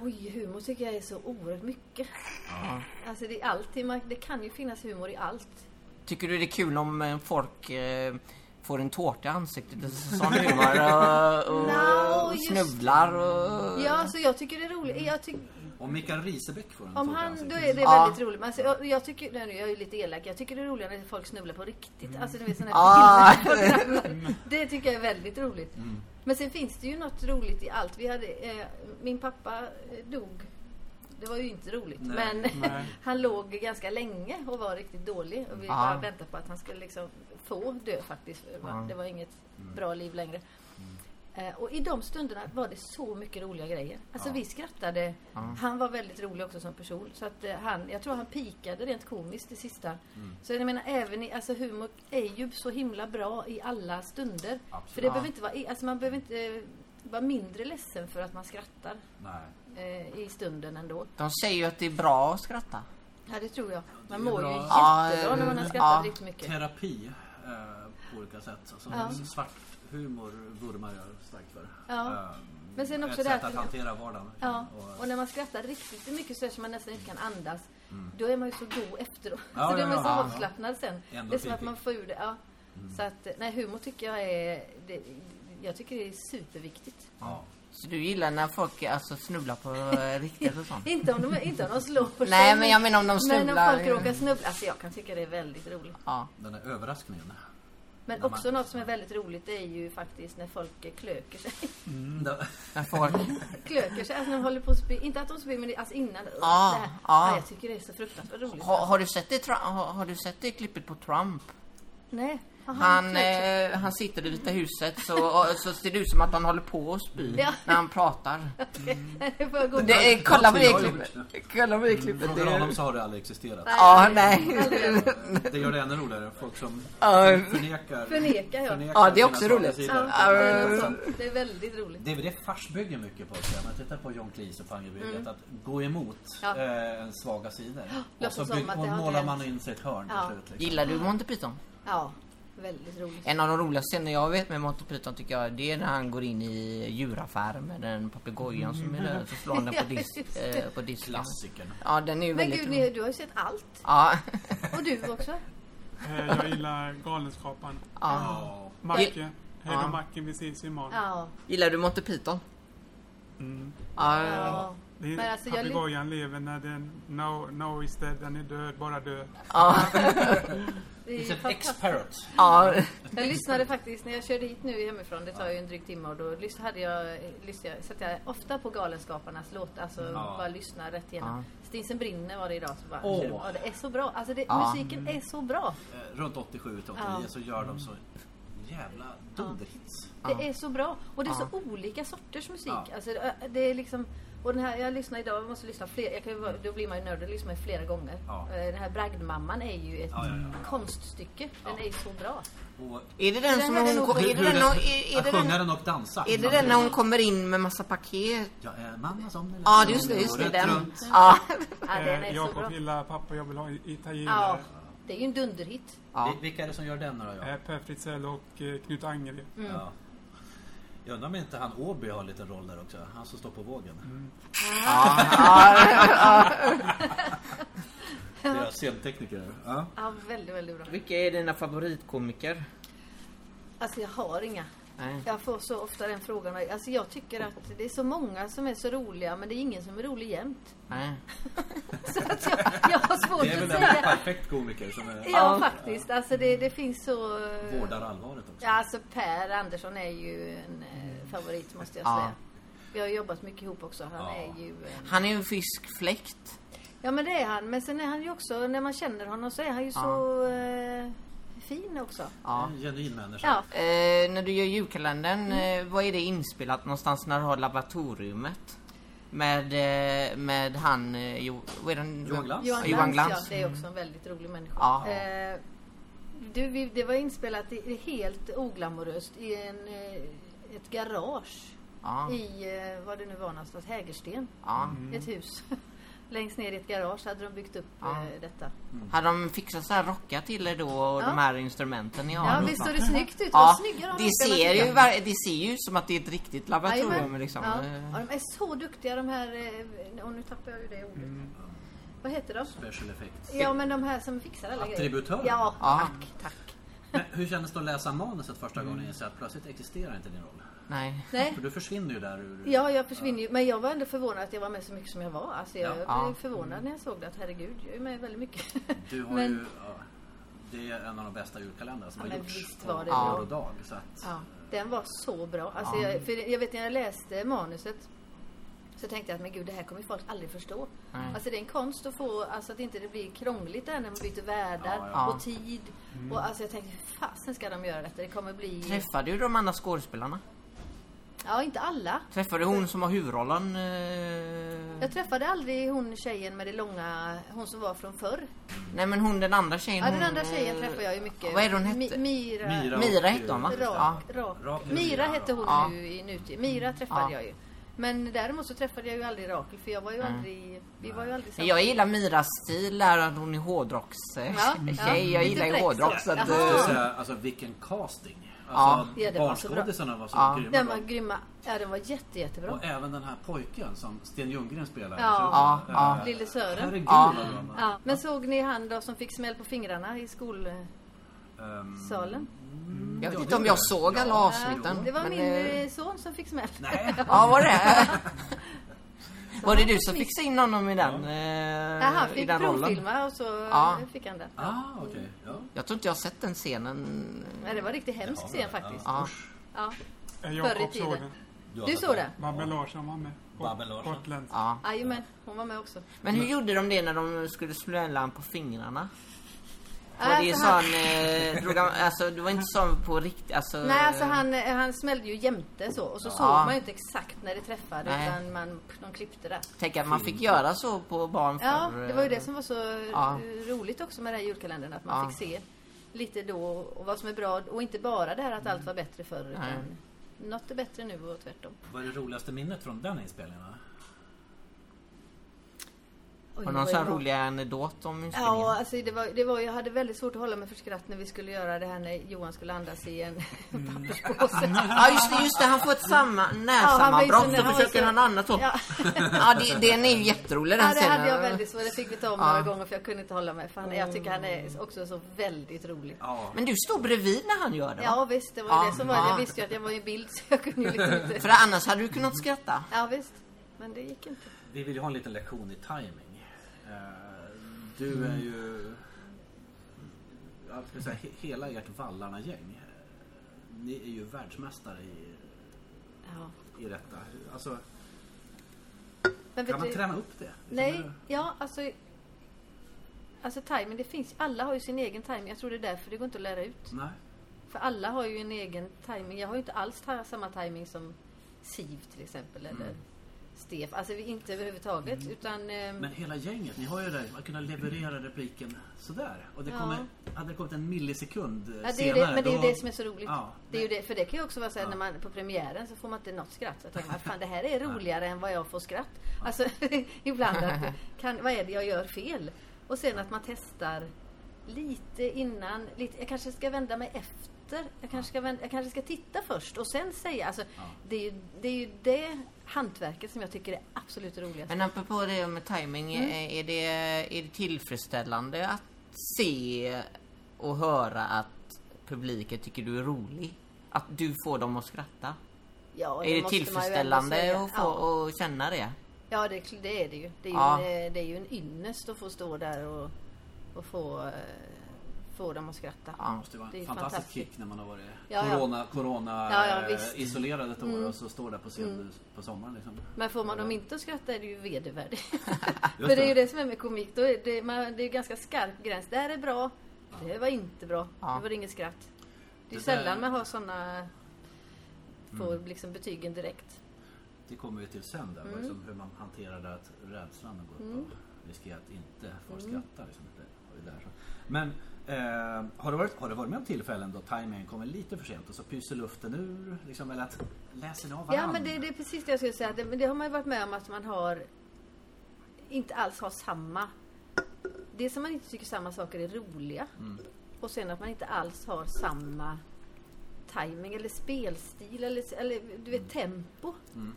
Oj, humor tycker jag är så oerhört mycket. Alltså det är alltid, man- det kan ju finnas humor i allt. Tycker du det är kul om eh, folk eh, får en tårta i ansiktet? Sån humor och, och No, just- snubblar och... Ja, så jag tycker det är roligt. Jag tycker, Om Mikael Risebäck får en Om tårta i han, då ansiktet. är det Ja. väldigt roligt. Men alltså, jag, jag tycker, nej, nu, jag är ju lite elak, jag tycker det är roligare när folk snubblar på riktigt. Alltså du vet sådana Ah. här filmer. Det tycker jag är väldigt roligt. Men sen finns det ju något roligt i allt. Vi hade, eh, min pappa eh, dog. Det var ju inte roligt. Men Nej. han låg ganska länge och var riktigt dålig. Och vi Ah. bara väntade på att han skulle liksom få dö faktiskt. Det var- Ah. Det var inget bra liv längre. Eh, Och i de stunderna var det så mycket roliga grejer. Alltså vi skrattade. Han var väldigt rolig också som person. Så att eh, han, jag tror han pikade rent komiskt i sista. Så jag menar även i, alltså humor är ju så himla bra i alla stunder. För det behöver inte vara, i- alltså man behöver inte eh, vara mindre ledsen för att man skrattar Nej. eh, i stunden ändå. De säger ju att det är bra att skratta. Ja det tror jag. Man Det är mår ju bra. Ja, eh, jättebra när man har skrattat ja. riktigt mycket. Terapi eh, på olika sätt. Alltså, Ja. Svart humor vurmar jag starkt för. Ja. Eh, Men sen också Ett det sätt här att till- hantera vardagen. Ja, Och- och när man skrattar riktigt mycket så är det som man nästan inte kan andas. Mm. Då är man ju så god efteråt. Ja, så då är ja, man ja, så ja. avslappnad sen. Ändå det är som att fiffigt. man får ur det. Ja. Mm. Så att, nej, humor tycker jag är... Det, jag tycker det är superviktigt. ja. Så du gillar när folk alltså, snubblar på eh, riktigt och sånt? Inte om de, inte om de slår på sig. Nej, men jag menar om de Men snubblar. om folk råkar snubbla. Alltså jag kan tycka det är väldigt roligt. Ja. Den där överraskningen. Men När man- också något som är väldigt roligt det är ju faktiskt när folk klöker sig. Mm. Då- När folk... klöker sig, alltså när de håller på att spy. Inte att de spyr, men det, alltså innan. Ja, Ja, ja. ja. Nej, jag tycker det är så fruktansvärt roligt. Ah, har, har, du sett det, tra- har, har du sett det klippet på Trump? Nej. har Han, klökt sig? eh, han sitter i Vita huset så, och, så ser det ut som att han håller på att spy Ja. när han pratar. Det får jag gå på. Det, är- kolla på det jag Mm, har gjort klippet. Kolla på det klippet. Det Frågar honom är, så har det aldrig existerat. ja, nej. Det gör det ännu roligare. Folk som Ja. förnekar... Förnekar, ja. Ja, det är också sina roligt. svagheter. Ja, det är något sånt. Det är väldigt roligt. Det är väl det fars bygger mycket på. Om man tittar på John Cleese och Fangerbrygget. Mm. Att gå emot Ja. eh, ens svaga sidor. och låtsas så som bygg, att det och har målar hänt. man in sig ett hörn Ja. till slut. Liksom. Gillar du Monty Python? Ja, väldigt roligt. En av de roliga scener jag vet med Monty Python tycker jag det är när han går in i djuraffären med den papegojan som är där så slår han den på, disk, eh, på disken. Klassikern. Ja den är ju Men väldigt gud, rolig. ni, du har ju sett allt. Ja. Och du också. Eh, jag gillar Galenskaparna. ja. Ja. Macke. Hej då Ja. Macke, vi ses imorgon. Ja. Mm. Gillar du Monty Python? Ja. ja. Det Men är- alltså, jag ly- Papegojan lever när den... No, no is dead, den är död, bara död. Ja, Det är ju It's an fantastiskt. ex-parrot. ja. Jag lyssnade faktiskt när jag körde hit nu hemifrån, det tar ju en dryg timme och då lys- hade jag, lyssnade, jag, satt jag ofta på Galenskaparnas låt, alltså Ja. bara lyssna rätt igenom. Stinsen brinner var det idag. Så bara, Åh. ja, det är så bra, alltså det, Ja. musiken Mm. är så bra. Eh, Runt 87-89 Ja. Mm. så gör de så jävla dunderhits. Det är så bra och det är så olika sorters musik. Ja. Alltså, det- det är liksom, och den här, jag lyssnar idag, jag måste lyssna fler, jag kan, ju vara- då blir man ju nörd och lyssnar ju flera gånger. Ja. Eh, Den här Bragdmamman är ju ett Ja, ja, ja. konststycke, den är ju så bra. Och Är det den som här är hon... nog- ko- Är det den, hon- är, är att det den, sjunga den och dansa. är det den när hon kommer in med massa paket? Jag är mamma som den Ja, just det, just det. Rätt Den. runt. Ja. Ja, den är Eh, så Jakob bra. gillar pappa, jag vill ha Ja, italienare. det är ju en dunderhit. Ja. Vi- Vilka är det som gör den då? Ja. Eh, per Fritzell och eh, Knut Angered. Mm. Mm. Ja. Jag undrar om inte han Åby har en liten roll där också. Han som står på vågen. Deras scentekniker. Ja. Ja, väldigt, väldigt bra. Vilka är dina favoritkomiker? Alltså jag har inga. Nej. Jag får så ofta den frågan. Alltså jag tycker att det är så många som är så roliga men det är ingen som är rolig jämt. Nej. Så att jag, jag har svårt Det är väl att en säga. perfekt komiker som är, Ja, faktiskt. Alltså det, det finns så... eh, vårdar allvaret också. Ja, alltså Per Andersson är ju en eh, favorit måste jag Ja. säga. Vi har jobbat mycket ihop också. Han Ja. är ju... eh, Han är ju en fiskfläkt. Ja men det är han. Men sen är han ju också, när man känner honom så är han ju så eh, fin också. Ja. En genuin människa. Ja, Eh, när du gör julkalendern, eh, vad är det inspelat någonstans när du har laboratoriummet? Med, eh, med han... Eh, jo, vad är den? Johan Glans? Johan, Johan Glans, Glans. Ja, det är också en väldigt rolig människa. Ja. Eh, du, vi, det var inspelat i, helt oglamoröst i en, eh, ett garage Ja. Mm. i, eh, vad det nu var någonstans, Hägersten. ja. Ett hus. Längst ner i ett garage hade de byggt upp eh, detta. Hade de fixat så här rockar till er då och Ja. de här instrumenten ni har? Ja, nu? visst såg det snyggt ut. Ja, Vad snygga de det rockarna ser, tycker ju, jag. ver- det ser ju ut som att det är ett riktigt laboratorium Jajamän. liksom. Ja. Eh, ja, de är så duktiga de här, eh, och nu tappar jag ju det ordet. Mm. Vad heter de? Special effects. Ja, men de här som fixar alla Attributörer. grejer. Ja, Ja. tack, tack. Men hur kändes det att läsa manuset första gången och inse att plötsligt existerar inte din roll? Mm. Nej. Nej, För du försvinner ju där ur... Ja, jag försvinner ju. Men jag var ändå förvånad att jag var med så mycket som jag var. Alltså jag Ja. Ja. Mm. blev förvånad när jag såg det. Att herregud, jag är med väldigt mycket. Du har men, ju... Ja, det är en av de bästa julkalendrarna som Ja, har men gjorts. visst var det på bra. år och dag. Så att, ja, den var så bra. Alltså jag, för jag vet när jag läste manuset så tänkte jag att men gud, det här kommer ju folk aldrig förstå. Alltså det är en konst att få, alltså att inte det blir krångligt där när man byter världar Ja, ja. Mm. och tid. Och alltså jag tänkte, hur fasen ska de göra detta? Det kommer bli... Träffade du de andra skådespelarna? Ja, inte alla. Träffade du hon som har huvudrollen? eh, Jag träffade aldrig hon tjejen med det långa, hon som var från förr. Nej men hon den andra tjejen. Ja, den hon, andra tjejen eh, träffade jag ju mycket. Vad är det hon hette? Mi- Mira. Mira. Mira hette hon va? Rak, Ja. rak. Rak eller Mira Mira, hette rak? hon Ja. nu i nutid. Mira träffade Ja. jag ju. Men däremot så träffade jag ju aldrig Rakel för jag var ju aldrig, vi var ju aldrig Mm. Men Jag gillar Miras stil där, att hon är hårdrockstjej. Ja, ja. Jag Lite gillar ju fräck hårdrock sådär. så Jaha. att... Jag måste eh, säga, alltså vilken casting! Alltså, Ja, det var så bra. barnskådisarna var så Ja. grymma. Den var bra. grymma. Ja, den var jätte, jättebra. Och även den här pojken som Sten Ljunggren spelar. Ja. Så- Ja, ja. Eh, Lille Sören. Herregud Ja. vad bra man- Ja, men såg ni han då som fick smäll på fingrarna i skolsalen? Ehm, mm, Jag vet Ja, inte det om gör jag det. såg Ja. alla Ja, avsnitten. det var men, min eh, eh, son som fick smäll. Nej, Ja, var det? Var det han du fick som miss- fixade in honom i den, Ja, han eh, i fick den rollen? provfilma och så Ja. eh, fick han den. ah, okej. Ja. Jag tror inte jag har sett den scenen. Ja, det var en riktigt hemsk scen faktiskt. Ja. Ja. Eh, Förr i Jakob tiden. såg den. har Du sett såg den? Babben Larsson var med. Got- Babben Larsson. Gotländsk. Ja. Jajamän, hon var med också. Men hur gjorde de det när de skulle smälla han på fingrarna? Var det Alltså, han- sån, eh, drog han, alltså det var inte sån på riktigt, alltså... Nej, alltså han, eh, han smällde ju jämte så och så såg man ju inte exakt när det träffade Nej. utan man, de klippte där. Tänk att man fick göra så på barn Ja, förr, det var ju eh, det som var så Ja. eh, roligt också med den här julkalendern att man Ja. fick se lite då och vad som är bra och inte bara det här att Mm. allt var bättre förr utan något är bättre nu och tvärtom. Vad är det roligaste minnet från den inspelningen? va? Oj, Har vad någon sån det här var. rolig anekdot om inspelningen? Ja, alltså det var, det var, jag hade väldigt svårt att hålla mig för skratt när vi skulle göra det här när Johan skulle andas i en papperspåse. Ja just det, just det, han får ett samma, Ja, närsammanbrott han var ju så- så han var försöker så- han annat så. Ja, Ja. det, den är ju jätterolig den Ja, det scenen. hade jag väldigt svårt. Det fick vi ta om några gånger för jag kunde inte hålla mig. För han, jag tycker han är också så väldigt rolig. Ja, Men du står bredvid när han gör det va? Ja visst, det var ju Ja, det som var ja. Jag visste ju att jag var i bild så jag kunde ju liksom inte... För annars hade du kunnat skratta. Ja visst. Men det gick inte. Vi vill ju ha en liten lektion i timing. Eh, Mm. Du är ju... Jag ska säga, he- hela ert Vallarna-gäng. eh, Ni är ju världsmästare i, Ja. i detta. Alltså, Men kan vet man du- träna upp det? Nej, ja alltså... Alltså timing, det finns Alla har ju sin egen timing. Jag tror det är därför det går inte att lära ut. Nej. För alla har ju en egen timing. Jag har ju inte alls ta- samma timing som Siv till exempel eller Stef. Alltså vi- inte överhuvudtaget utan... ehm, Men hela gänget, ni har ju det där att kunna leverera repliken sådär. Och det Ja. kommer, hade det kommit en millisekund eh, Ja, det är ju senare. det, men det är ju då- det som är så roligt. Ja. det är ju det, för det kan ju också vara så här, när man på premiären så får man inte något skratt. Så tänker man, fan det här är roligare än vad jag får skratt. Alltså ibland att, kan, vad är det jag gör fel? Och sen att man testar lite innan, lite, jag kanske ska vända mig efter. Jag kanske, ska vända, jag kanske ska titta först och sen säga. Alltså, det, är ju, det är ju det hantverket som jag tycker är absolut roligast. Men apropå det med timing, Mm. eh, är, det, är det tillfredsställande att se och höra att publiken tycker du är rolig? Att du får dem att skratta? Ja, måste man är det ju ändå tillfredsställande säga. att få Ja. och känna det? Ja, det, det är det ju. Det är, Ja. ju en, eh, det är ju en ynnest att få stå där och, och få, eh, få dem att skratta. Ja. måste ju vara Det är en ju fantastisk fantastiskt. kick när man har varit Ja, ja. corona, corona Ja, ja, eh, visst. Mm. isolerad ett år och så står där på scen på sommaren. Liksom. Men får man dem inte att skratta är det ju vedervärdigt. För Just det är ju det. det som är med komik. Då är det, man, det är ju ganska skarp gräns. Det här är bra. Det här var inte bra. Ja. Det var inget skratt. Det är Det sällan där- man har sådana... Får liksom betygen direkt. Det kommer vi till sen Mm. där, liksom, hur man hanterar det att rädslan går upp och riskerar att inte få Mm. skratta. Liksom. Det var ju där. så. Men eh, har, det varit, har det varit med om tillfällen då timingen kommer lite för sent och så pyser luften ur? Liksom, eller att läser ni av varandra? Ja, men det, det är precis det jag skulle säga. Det, men det har man ju varit med om att man har inte alls har samma. Det är som man inte tycker samma saker är roliga. Mm, Och sen att man inte alls har samma timing eller spelstil eller, eller du vet tempo. mm,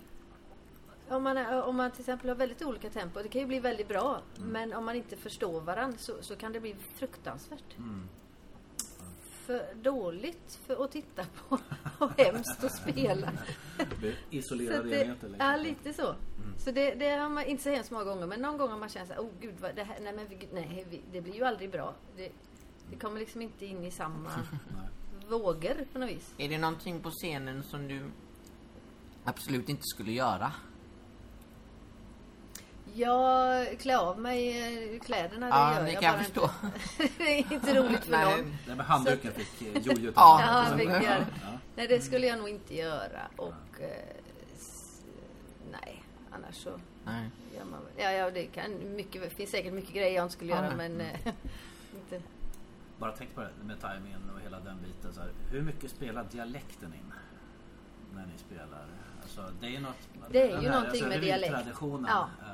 Om, man, är- om man till exempel har väldigt olika tempo, det kan ju bli väldigt bra. Men om man inte förstår varandra så, så kan det bli fruktansvärt. mm. För dåligt för att titta på och hemskt att spela. Blir Så Isolerade att det, enheter? liksom. ja, lite så. Så det, det har man inte så hemskt många gånger, men någon gång har man känt så här, oh gud, vad, det, här, nej, men, vi- nej, vi, det blir ju aldrig bra. Det, det kommer liksom inte in i samma vågor på något vis. Är det någonting på scenen som du absolut inte skulle göra? Jag klär av mig eh, kläderna, det Ja, gör det jag kan jag bara förstå. Inte. det är inte roligt för Nej. någon. Nej, men handduken fick eh, jojo Ja, Ja, alltså. vilket- Ja. Nej, det skulle jag nog inte göra. Och, eh, s- nej, annars så... Nej. gör man väl- Ja, ja, det kan, mycket, finns säkert mycket grejer jag inte skulle Ja. göra, men... eh, inte. Bara tänk på det med timingen och hela den biten. Så här, hur mycket spelar dialekten in? När ni spelar? Alltså, det är, något, Det är den alltså, ju någonting med dialekt. revytraditionen, Ja. eh,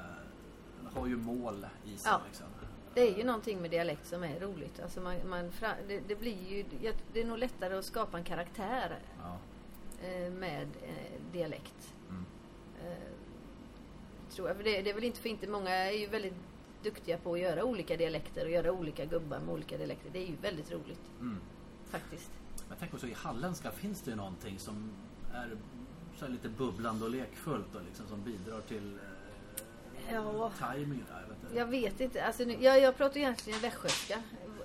har ju mål i sig. Ja. Liksom. Det är ju någonting med dialekt som är roligt. Alltså man, man fra, det, det blir ju, jag- det är nog lättare att skapa en karaktär Ja. Mm. eh, med eh, dialekt. Eh, tror jag. För Det, det är väl inte för inte. Många är ju väldigt duktiga på att göra olika dialekter och göra olika gubbar med olika dialekter. Det är ju väldigt roligt. Faktiskt. Mm. Men tänk också i halländska finns det ju någonting som är så här lite bubblande och lekfullt och liksom, som bidrar till eh, Ja. timingen. där, Jag Jag vet inte. vet inte. Alltså nu, jag, jag pratar egentligen västgötska.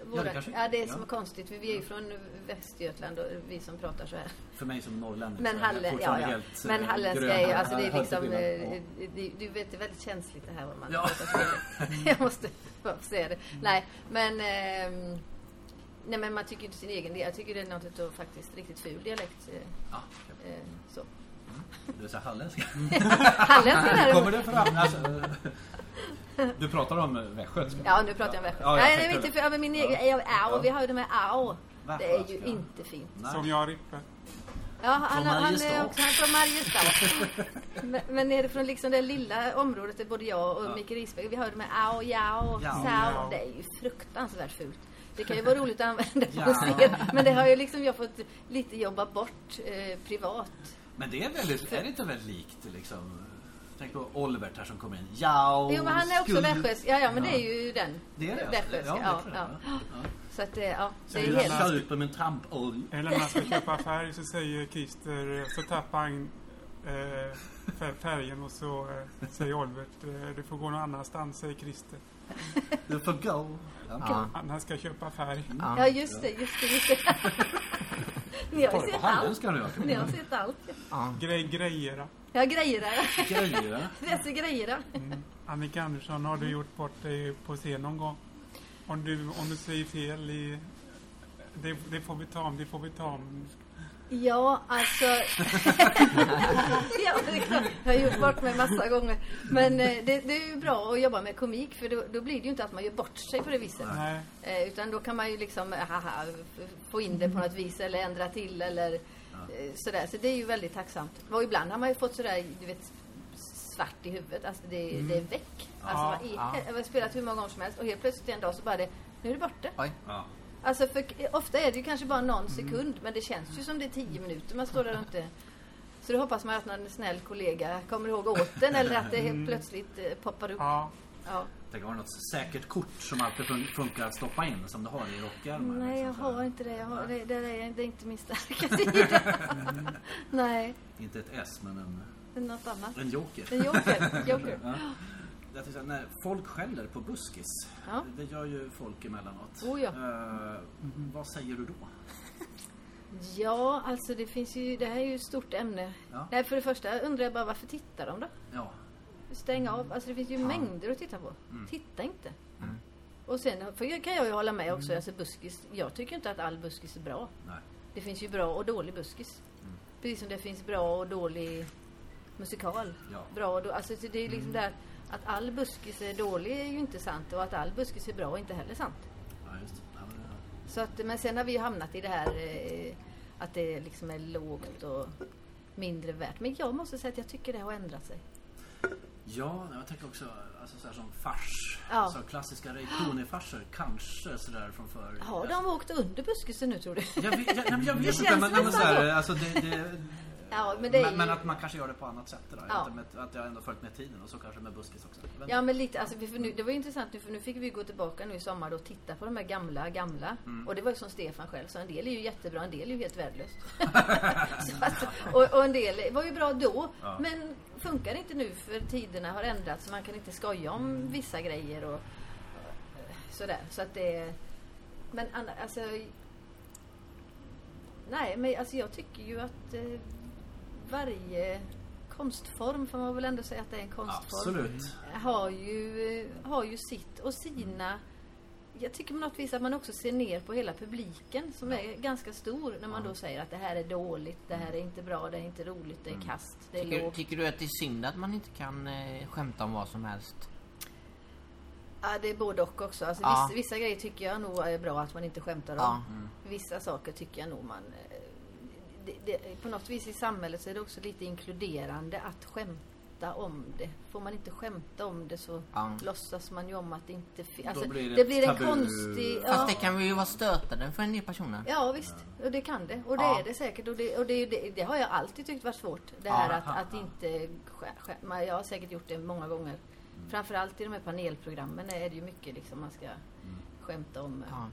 Våra, ja, kanske- det, är som ja. är konstigt. för Vi är ju från Västergötland och vi som pratar så här. För mig som norrlänning Men, så är jag Halle, ja, fortfarande ja. helt, eh, men halländska grön. är ju, alltså det är Ja, liksom, skillnad. eh, Ja. du, du vet det är väldigt känsligt det här vad man Ja. pratar fel. Jag måste bara säga det. Nej, men, ehm, nej, men man tycker ju inte sin egen del. Jag tycker det är något av faktiskt riktigt ful dialekt. eh, Ja, eh, så. det är så här halländska. Halländska Kommer däremot. det fram? Alltså, du pratar om eh, västgötska? Ja, nu pratar jag med Ja, jag Nej, nej, tänkte inte det. för, ja, men min egen, ja. au, vi har ju de här au. Det är ju Västgötska. inte fint. Som jag rippar. Ja, han, han, Från han är Mariestad. också han är från Mariestad. men, men är det från liksom det lilla området där både jag och Micke Risberg, vi hörde med ao, jao, Jao, sao. jao. Det är ju fruktansvärt fult. Det kan ju vara roligt att använda på Ja. scen, men det har ju liksom jag fått lite jobba bort eh, privat. Men det är väldigt, är det inte väldigt likt liksom? Tänk på Oliver här som kommer in. Ja, Jo, men han är också skuld- västgötsk. Ja, ja, men det är ju den. Det är det? alltså? Västgötska, Ja, ja, det tror ja. jag. Ja. Så att det, ja, det Sen är vill Jag jag helt... bara- lassar ut på min trampolja. Eller när man ska köpa färg så säger Christer, så eh, tappar han eh, fär- färgen och så eh, säger Olvert eh, du får gå någon annanstans, säger Christer. Du får go. Ja. Han han ska köpa färg. Ja, just det, just det, just det. Ni har ju sett allt. Halländska nu alltså. Ni har sett allt. Grej, grejera. Jag har grejer där. Grejer. Läser grejer där. Mm. Annika Andersson, har Mm. du gjort bort dig på scen någon gång? Om du, om du säger fel i... Det, det får vi ta om, det får vi ta om. Ja, alltså... ja, det är klart. jag har gjort bort mig massa gånger. Men eh, det, det är ju bra att jobba med komik för då, då blir det ju inte att man gör bort sig på det viset. Nej. Eh, utan då kan man ju liksom haha, f- få in det på något vis eller ändra till eller eh, sådär. Så det är ju väldigt tacksamt. Och ibland har man ju fått sådär, du vet, svart i huvudet. Alltså det, det är väck. Alltså, Mm. Ja, man, i, Jag har spelat hur många gånger som helst och helt plötsligt en dag så bara det, nu är det borta. Oj. Ja. Alltså för, ofta är det ju kanske bara någon sekund men det känns ju som det är tio minuter man står där och inte... Så då hoppas man att någon snäll kollega kommer ihåg åt den eller att det helt plötsligt eh, poppar upp. Ja, Ja. Tänk om det var något säkert kort som alltid fun- funkar att stoppa in som du har i rockärmar. Nej, jag liksom, så här. har inte det. Jag har, det, det, är, det är inte min starka sida. Nej, liksom. Inte ett S men en, det är något annat. en joker. En joker. joker. Jag tänkte, när folk skäller på buskis, Ja. det gör ju folk emellanåt. Oh ja. Eh, vad säger du då? Ja, alltså det finns ju... Det här är ju ett stort ämne. Ja. Nej, för det första undrar jag bara varför tittar de då? Ja, Stäng av. Alltså det finns ju mängder att titta på. Titta inte. Och sen för jag kan jag ju hålla med också. Alltså buskis, jag tycker inte att all buskis är bra. nej. Det finns ju bra och dålig buskis. Precis som det finns bra och dålig musikal. Ja. Bra och då, alltså så det är ju liksom där att all buskis är dålig är ju inte sant och att all buskis är bra är inte heller sant. Ja, just det. Ja, men, ja. Så att, men sen har vi ju hamnat i det här eh, att det liksom är lågt och mindre värt. Men jag måste säga att jag tycker det har ändrat sig. ja, jag tänker också alltså, så här som fars. Ja. Så klassiska Ray Cooney-farser, kanske sådär från förr. Har de åkt under buskisen nu tror du? Jag vet, jag, nej, men jag vet känns inte, men, men, nästan så här, alltså, det, det, Ja, men det är men, ju... men att man kanske gör det på annat sätt. Det där. Ja. Att, med, att jag ändå följt med tiden och så kanske med buskis också. Jag vet Ja men lite, alltså, vi- för nu, det var ju intressant nu för nu fick vi gå tillbaka nu i sommar då och titta på de här gamla, gamla. Och det var ju som Stefan själv sa, en del är ju jättebra, en del är ju helt värdelöst. så att, och, och en del var ju bra då, men funkar inte nu för tiderna har ändrats så man kan inte skoja om vissa grejer och eh, sådär. Så att det... Men anna, alltså... Nej, men alltså jag tycker ju att eh, varje konstform, får man väl ändå säga att det är en inte. konstform Absolut. har ju, eh, har ju sitt och sina. Jag tycker på något vis att man också ser ner på hela publiken som är ganska stor när man då säger att det här är dåligt, det här är inte bra, det är inte roligt, det är kast, det är Tycker, lågt. tycker du att det är synd att man inte kan eh, skämta om vad som helst? Ja, det är både och också. Alltså, Ja. vissa, vissa grejer tycker jag nog är bra att man inte skämtar om. Ja. Vissa saker tycker jag nog man... eh, Det, det, på något vis i samhället så är det också lite inkluderande att skämta om det. Får man inte skämta om det så Ja. låtsas man ju om att det inte finns. Alltså, blir det, det Mm. blir en tabu. konstig... Fast ja. det kan ju vara stötande för en del personer. Ja visst, och det kan det. Och det Ja. är det säkert. Och det, och det, är ju det, det har jag alltid tyckt varit svårt. Det här att, att inte skä- skä- man- Jag har säkert gjort det många gånger. Framförallt i de här panelprogrammen är det ju mycket liksom man ska skämta om. Ja.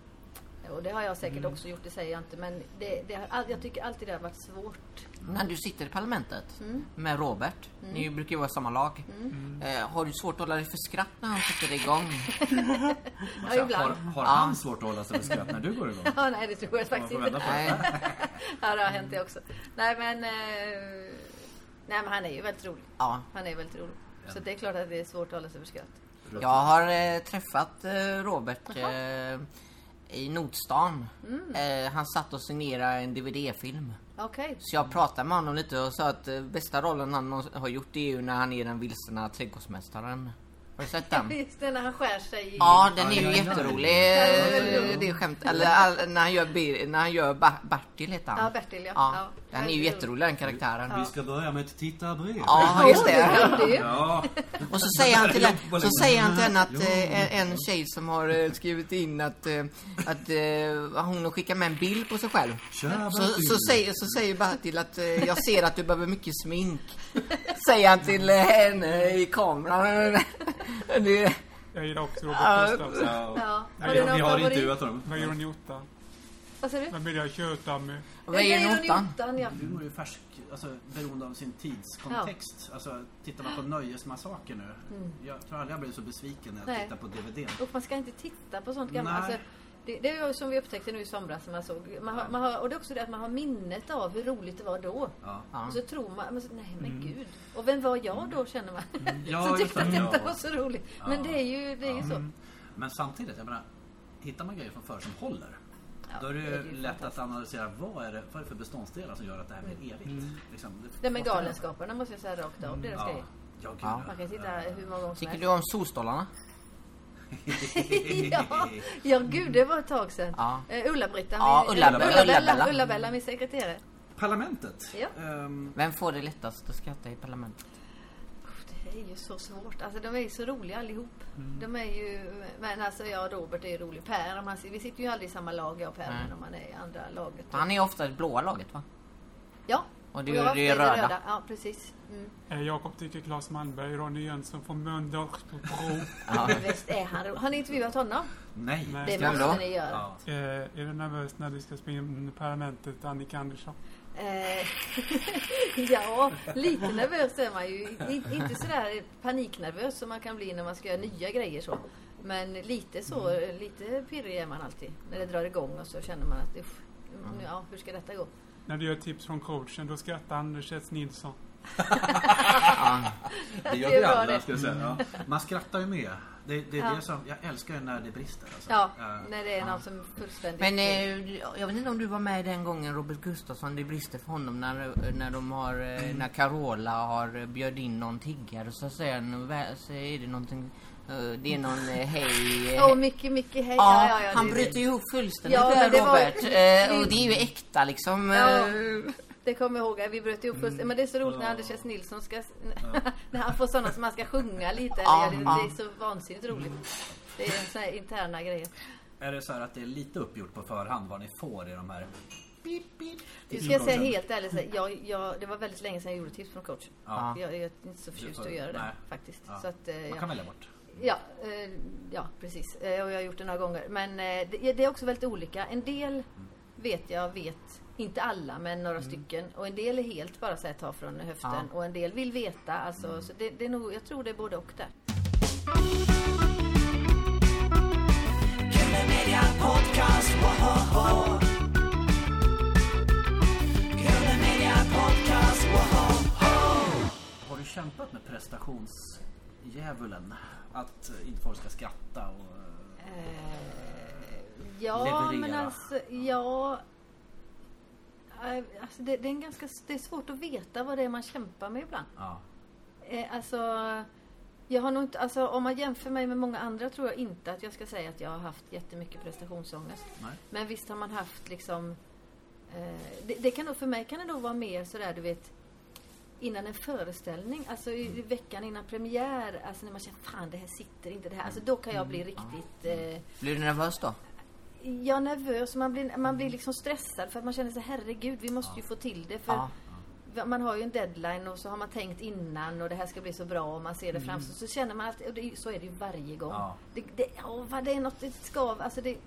Och det har jag säkert också gjort, det säger jag inte. Men det, det har, all- jag tycker alltid det har varit svårt. När du sitter i parlamentet med Robert, ni brukar ju vara i samma lag. Eh, har du svårt att hålla dig för skratt när han sätter igång? Ja, ibland. Har, har han svårt att hålla sig för skratt när du går igång? Ja, nej, det tror jag Man faktiskt får inte. vända på det. Nej. Ja, det har hänt det också. Nej, men... Eh, nej, men han är ju väldigt rolig. Ja. Han är väldigt rolig. Så det är klart att det är svårt att hålla sig för skratt. Jag har eh, träffat eh, Robert eh, i Nordstan. Eh, han satt och signerade en DVD-film. Okej. Så jag pratade med honom lite och sa att eh, bästa rollen han någonsin har gjort det är ju när han är den vilsna trädgårdsmästaren. Har du sett den? Just det, när han skär sig i... Ja, den är Ja, ju ja, ja. jätterolig. Ja, den är Eh, Det är skämt. Eller all, när han gör, Bir- när han gör ba- Bertil heter han. Ja, Bertil, ja. Ja. Den är ju jätterolig den karaktären. Vi ska börja med ett tittarbrev. Ja, just Oj, det. glömde ju. Ja, Och så säger han till, Ja, så säger han till henne att eh, en- en tjej som har eh, skrivit in att, eh, att eh, hon har skickat med en bild på sig själv. Tja, Så, Bertil. så, säger, så säger Bertil att eh, jag ser att du behöver mycket smink. Säger han till eh, henne i kameran. Det, Jag gillar också Robert Ja. Gustafsson. Ja. Vi, vi har intervjuat honom. Vad gör hon i Otta? Vad säger du? Sen blir jag tjötdammig. Vad är notan? Notan, ja. Humor är ju färsk, alltså, beroende av sin tidskontext. Alltså, tittar man på Nöjesmassaker nu, jag tror aldrig jag blev så besviken när jag Mm. Nej. tittar på DVDn. Och man ska inte titta på sånt gammalt. Nej. Alltså, det, det är ju som vi upptäckte nu i somras. när Man såg. Man har, man har, och det är också det att man har minnet av hur roligt det var då. Ja. Ja. Och så tror man, men så, nej men gud. Och vem var jag då känner man? Mm. Ja, så just tyckte det. att detta Ja. var så roligt. Men Ja. mm. det är ju, det är ju så. Men samtidigt, jag menar, hittar man grejer från förr som håller, Ja, då är det ju det är ju lätt att analysera vad är det, vad är det för beståndsdelar som gör att det här blir evigt. Liksom, Mm. Det med måste- Galenskaparna måste jag säga rakt av. Deras Mm, Ja, grej. ja, gud, Ja. ja. Man kan titta hur många gånger som Tycker helst. du om solstolarna? ja, ja, gud det var ett tag sedan. Ja. Eh, Ulla-Britta, Ja, min- Ulla-Bella. Ulla-Bella, Ulla-Bella. Ulla-Bella, min sekreterare. Parlamentet. Ja. Ehm, Vem får det lättast att skratta i parlamentet? Det är ju så svårt. Alltså de är ju så roliga allihop. Mm. De är ju, men alltså jag och Robert är ju rolig. Per, om han, vi sitter ju aldrig i samma lag jag och Per, Nej. men om man är i andra laget. Han är ofta det blåa laget va? Ja. Och du jag är var ju ofta i det röda. Ja, precis. Mm. Eh, Jakob tycker Claes Malmberg, Ronny Jönsson från Mölndalsbro. Ja. Men Visst är han rolig. Har ni intervjuat honom? nej. Nej. Det Vem måste då? ni göra. Ja. Eh, är du nervös när du ska spela in Parlamentet, Annika Andersson? Eh, ja, lite nervös är man ju. I- Inte sådär paniknervös som man kan bli när man ska göra nya grejer så. Men lite så, Mm. lite pirrig är man alltid. När det drar igång och så känner man att usch, Mm. nu, ja, hur ska detta gå? När du gör tips från coachen, då skrattar Anders S. Nilsson. Det gör Det är vi bra alla, det. ska jag säga. Ja. Man skrattar ju med. Det, det, är Ja. det som, jag älskar ju när det brister. Alltså. Ja, Eh, när det är någon som fullständigt... Men eh, jag vet inte om du var med den gången Robert Gustafsson, det brister för honom när, när de har, Mm. eh, när Carola har eh, bjöd in någon tiggare så säger han, "Vä- så är det någonting, eh, det är någon eh, hej... eh, Åh, mycket, mycket hej. Ja, han det- bryter ihop fullständigt Ja, där, men det var- Mm. Robert. Eh, och det är ju äkta liksom. Ja. eh, Det kommer jag ihåg, att vi bröt ihop Mm. fullständigt. Men det är så roligt när Anders S. Nilsson ska... när han får sådana som han ska sjunga lite. Ja, det, ja. det är så vansinnigt roligt. Det är sådana här interna grejer. Är det så här att det är lite uppgjort på förhand vad ni får i de här? Nu ska jag säga helt ärligt, så här, jag, jag, det var väldigt länge sedan jag gjorde tips från coachen. Ja. Jag, jag är inte så förtjust att göra det Nej. faktiskt. Ja. Så att, eh, Man ja. kan välja bort. Ja, eh, ja, precis. Eh, och jag har gjort det några gånger. Men eh, det, det är också väldigt olika. En del vet jag vet, inte alla, men några Mm. stycken. Och en del är helt bara så här, ta från höften. Ja. Och en del vill veta. Alltså, Mm. så det, det är nog, jag tror det är både och där. Har du kämpat med prestationsdjävulen? Att eh, inte folk ska skratta och... eh, Ja, Leverera. men alltså, ja... Eh, Alltså det, det, är en ganska, s- det är svårt att veta vad det är man kämpar med ibland. Ja. Eh, alltså, jag har nog inte, alltså, om man jämför mig med många andra tror jag inte att jag ska säga att jag har haft jättemycket prestationsångest. Nej. Men visst har man haft liksom... Eh, det, det kan nog, för mig kan det nog vara mer sådär, du vet, innan en föreställning, alltså i, Mm. i veckan innan premiär, alltså när man känner fan det här sitter inte, det här, alltså då Mm. kan jag bli riktigt... Eh, Blir du nervös då? Ja, nervös. Man blir, man blir liksom stressad för att man känner sig herregud, vi måste ju få till det. För Mm. Ja. Man har ju en deadline och så har man tänkt innan och det här ska bli så bra och man ser det framför sig. Så känner man att, och det, är ju- så är det ju varje gång. Mm. Ja. Det, det, åh, vad det är något, det skav. Alltså det,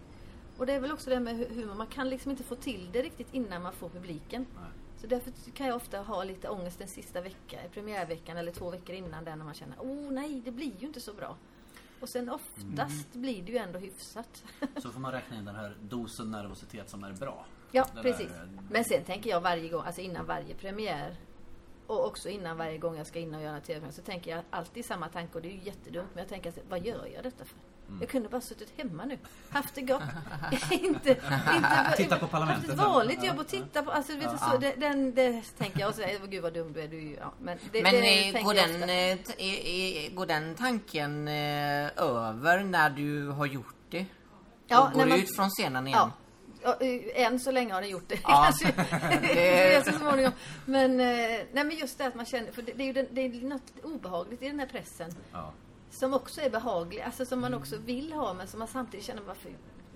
och det är väl också det med hu- humor, man kan liksom inte få till det riktigt innan man får publiken. Nej. Så därför kan jag ofta ha lite ångest den sista veckan, i premiärveckan eller två veckor innan den när man känner, oh nej, det blir ju inte så bra. Och sen oftast Mm. blir det ju ändå hyfsat. Så får man räkna in den här dosen nervositet som är bra. Ja, Den precis. där, eh, Men sen tänker jag varje gång, alltså innan varje premiär och också innan varje gång jag ska in och göra en tv så tänker jag alltid samma tanke och det är ju jättedumt men jag tänker att vad gör jag detta för? Mm. Jag kunde bara suttit hemma nu, haft det gott. inte, inte, Titta på Parlamentet. Haft ett vanligt jobb och titta på, alltså vet du, så, det, den, det tänker jag och så, "Åh, gud vad dum du är, du är ju, ja. Men, det, Men det eh, tänker går, jag den, ofta. eh, t- eh, eh, går den tanken eh, över när du har gjort det? Ja, Ja, går när du man- ut från scenen igen? Ja. Ja, eh, Än så länge har den gjort det. Ja. Kanske det är så småningom. Men, eh, nej, men just det att man känner, för det, det är ju den, det är något obehagligt i den här pressen. Ja. Mm. Som också är behaglig, alltså som man också vill ha men som man samtidigt känner varför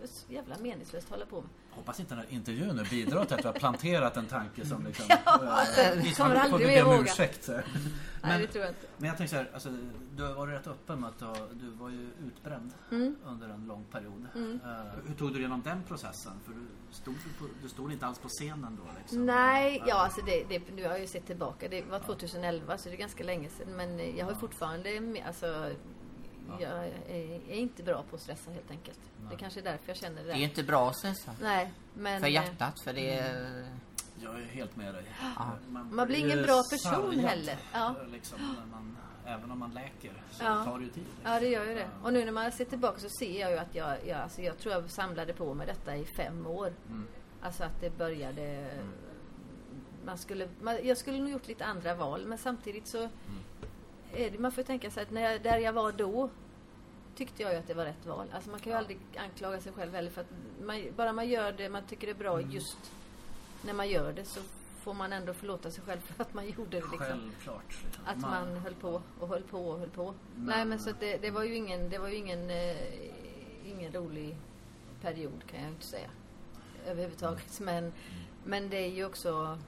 så jävla meningslöst att hålla på med. Hoppas inte den här intervjun nu bidrar till att vi har planterat en tanke som liksom... Ja, eh, vi kommer får aldrig vi be om ihåg. ursäkt. så här. Nej, Men- det tror jag inte. Men jag tänker så här, alltså, du har varit rätt öppen med att du, har, du var ju utbränd Mm. under en lång period. Eh, hur tog du igenom den processen? För du stod, ju på, du stod inte alls på scenen då? Liksom. Nej, ja alltså det, det, nu har jag ju sett tillbaka. Det var 2011 så det är ganska länge sedan. Men eh, jag har ju fortfarande, med- alltså jag är, är inte bra på att stressa helt enkelt. Det kanske är därför jag känner det Det är ju där. inte bra att stressa. Nej, men... För eh, hjärtat, för det är... Jag är helt med dig. Man, blir ju ingen bra person sargad, heller. Ja. Liksom, när man, även om man läker så Ja. tar det ju tid. liksom. Ja, det gör ju det. Och nu när man ser tillbaka så ser jag ju att jag, jag, alltså jag tror jag samlade på mig detta i fem år. Mm. Alltså att det började... Man skulle, man, jag skulle nog gjort lite andra val, men samtidigt så... Är det, man får tänka sig att när jag, där jag var då tyckte jag ju att det var rätt val. Alltså man kan ju aldrig anklaga sig själv heller för att man, bara man gör det man tycker det är bra just när man gör det så får man ändå förlåta sig själv för att man gjorde det. Liksom Självklart. liksom. att man, höll på och höll på och höll på. Nej men så att det, det var ju ingen, det var ju ingen, eh, ingen rolig period kan jag inte säga. Överhuvudtaget. Men, men det är ju också,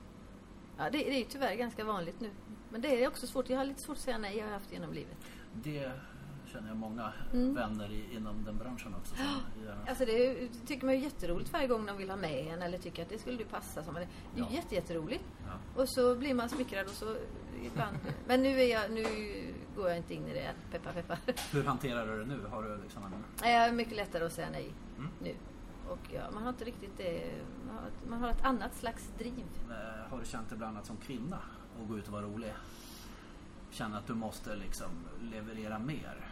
ja det, det är ju tyvärr ganska vanligt nu. Men det är också svårt, jag har lite svårt att säga nej, jag har jag haft genom livet. Det känner jag många Mm. vänner i, inom den branschen också. Som gärna Alltså det är, ju- tycker man är jätteroligt varje gång de vill ha med en eller tycker att det skulle du passa som. Det är ju Ja. jätte, jätteroligt. Och så blir man smickrad och så ibland. Men nu, är jag, nu går jag inte in i det än. Peppar, peppar. Hur hanterar du det nu? Har du liksom en... Nej, jag är mycket lättare att säga nej nu. Och ja, man har inte riktigt det. Man har, ett- man har ett annat slags driv. Eh, Har du känt det bland annat som kvinna att gå ut och vara rolig? Känna att du måste liksom leverera mer?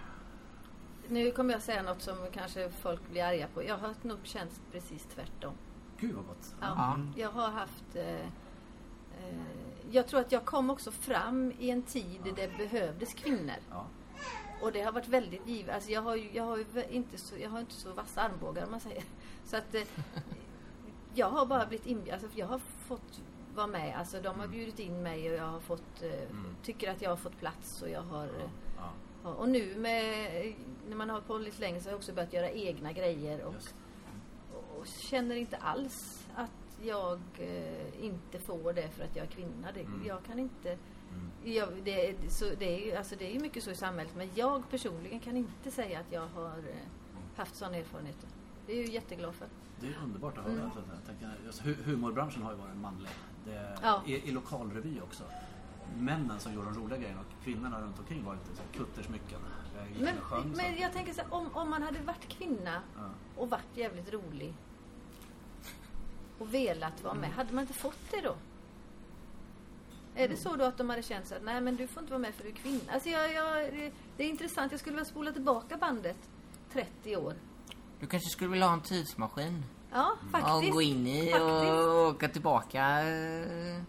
Nu kommer jag säga något som kanske folk blir arga på. Jag har nog känt precis tvärtom. Gud vad gott! Ja, Jag har haft... Eh, eh, jag tror att jag kom också fram i en tid där det behövdes kvinnor. Ja. Och det har varit väldigt givet. Alltså jag har ju jag har ju vä- inte så, jag har inte så vassa armbågar om man säger. Så att eh, jag har bara blivit inbjuden. Alltså jag har fått vara med. Alltså de har Mm. bjudit in mig och jag har fått, eh, tycker att jag har fått plats och jag har eh, Ja. Ja, och nu med, när man har hållit på lite längre så har jag också börjat göra egna grejer och, Just. och känner inte alls att jag eh, inte får det för att jag är kvinna. Det, Jag kan inte... Jag, det, är- så det, är, ju- alltså det är ju mycket så i samhället men jag personligen kan inte säga att jag har eh, haft sådana erfarenheter. Det är jag ju jätteglad för. Det är underbart att höra. Mm. Jag tänker, just hu- humorbranschen har ju varit manlig. Det, Ja. i, I lokalrevy också. Männen som gjorde de roliga grejerna och kvinnorna runt omkring var lite så här kuttersmycken. Jag gick Men, in och sjöng, så. men jag tänker så här, om, om man hade varit kvinna Ja. och varit jävligt rolig och velat vara med, hade man inte fått det då? Är det så då att de hade känt så att nej men du får inte vara med för du är kvinna? Alltså jag, jag, det, det är intressant, jag skulle vilja spola tillbaka bandet 30 år. Du kanske skulle vilja ha en tidsmaskin? Ja, faktiskt. Och gå in i Faktiskt. och åka tillbaka eh,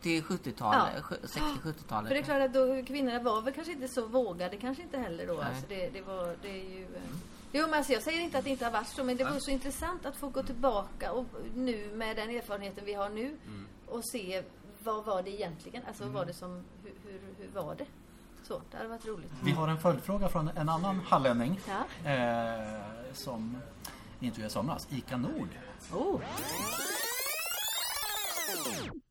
till 70-talet, sju- 60-70-talet. För det är klart att då, kvinnorna var väl kanske inte så vågade, kanske inte heller då. Alltså det, det var, det är ju... eh, Jo, men alltså jag säger inte att det inte har varit så, men det var så intressant att få gå tillbaka och nu med den erfarenheten vi har nu och se vad var det egentligen? Alltså vad var det som, hur, hur, hur var det? Så, det hade varit roligt. Vi har en följdfråga från en annan hallänning Ja. eh, som intervjuade i somras, Ica Nord. Oh.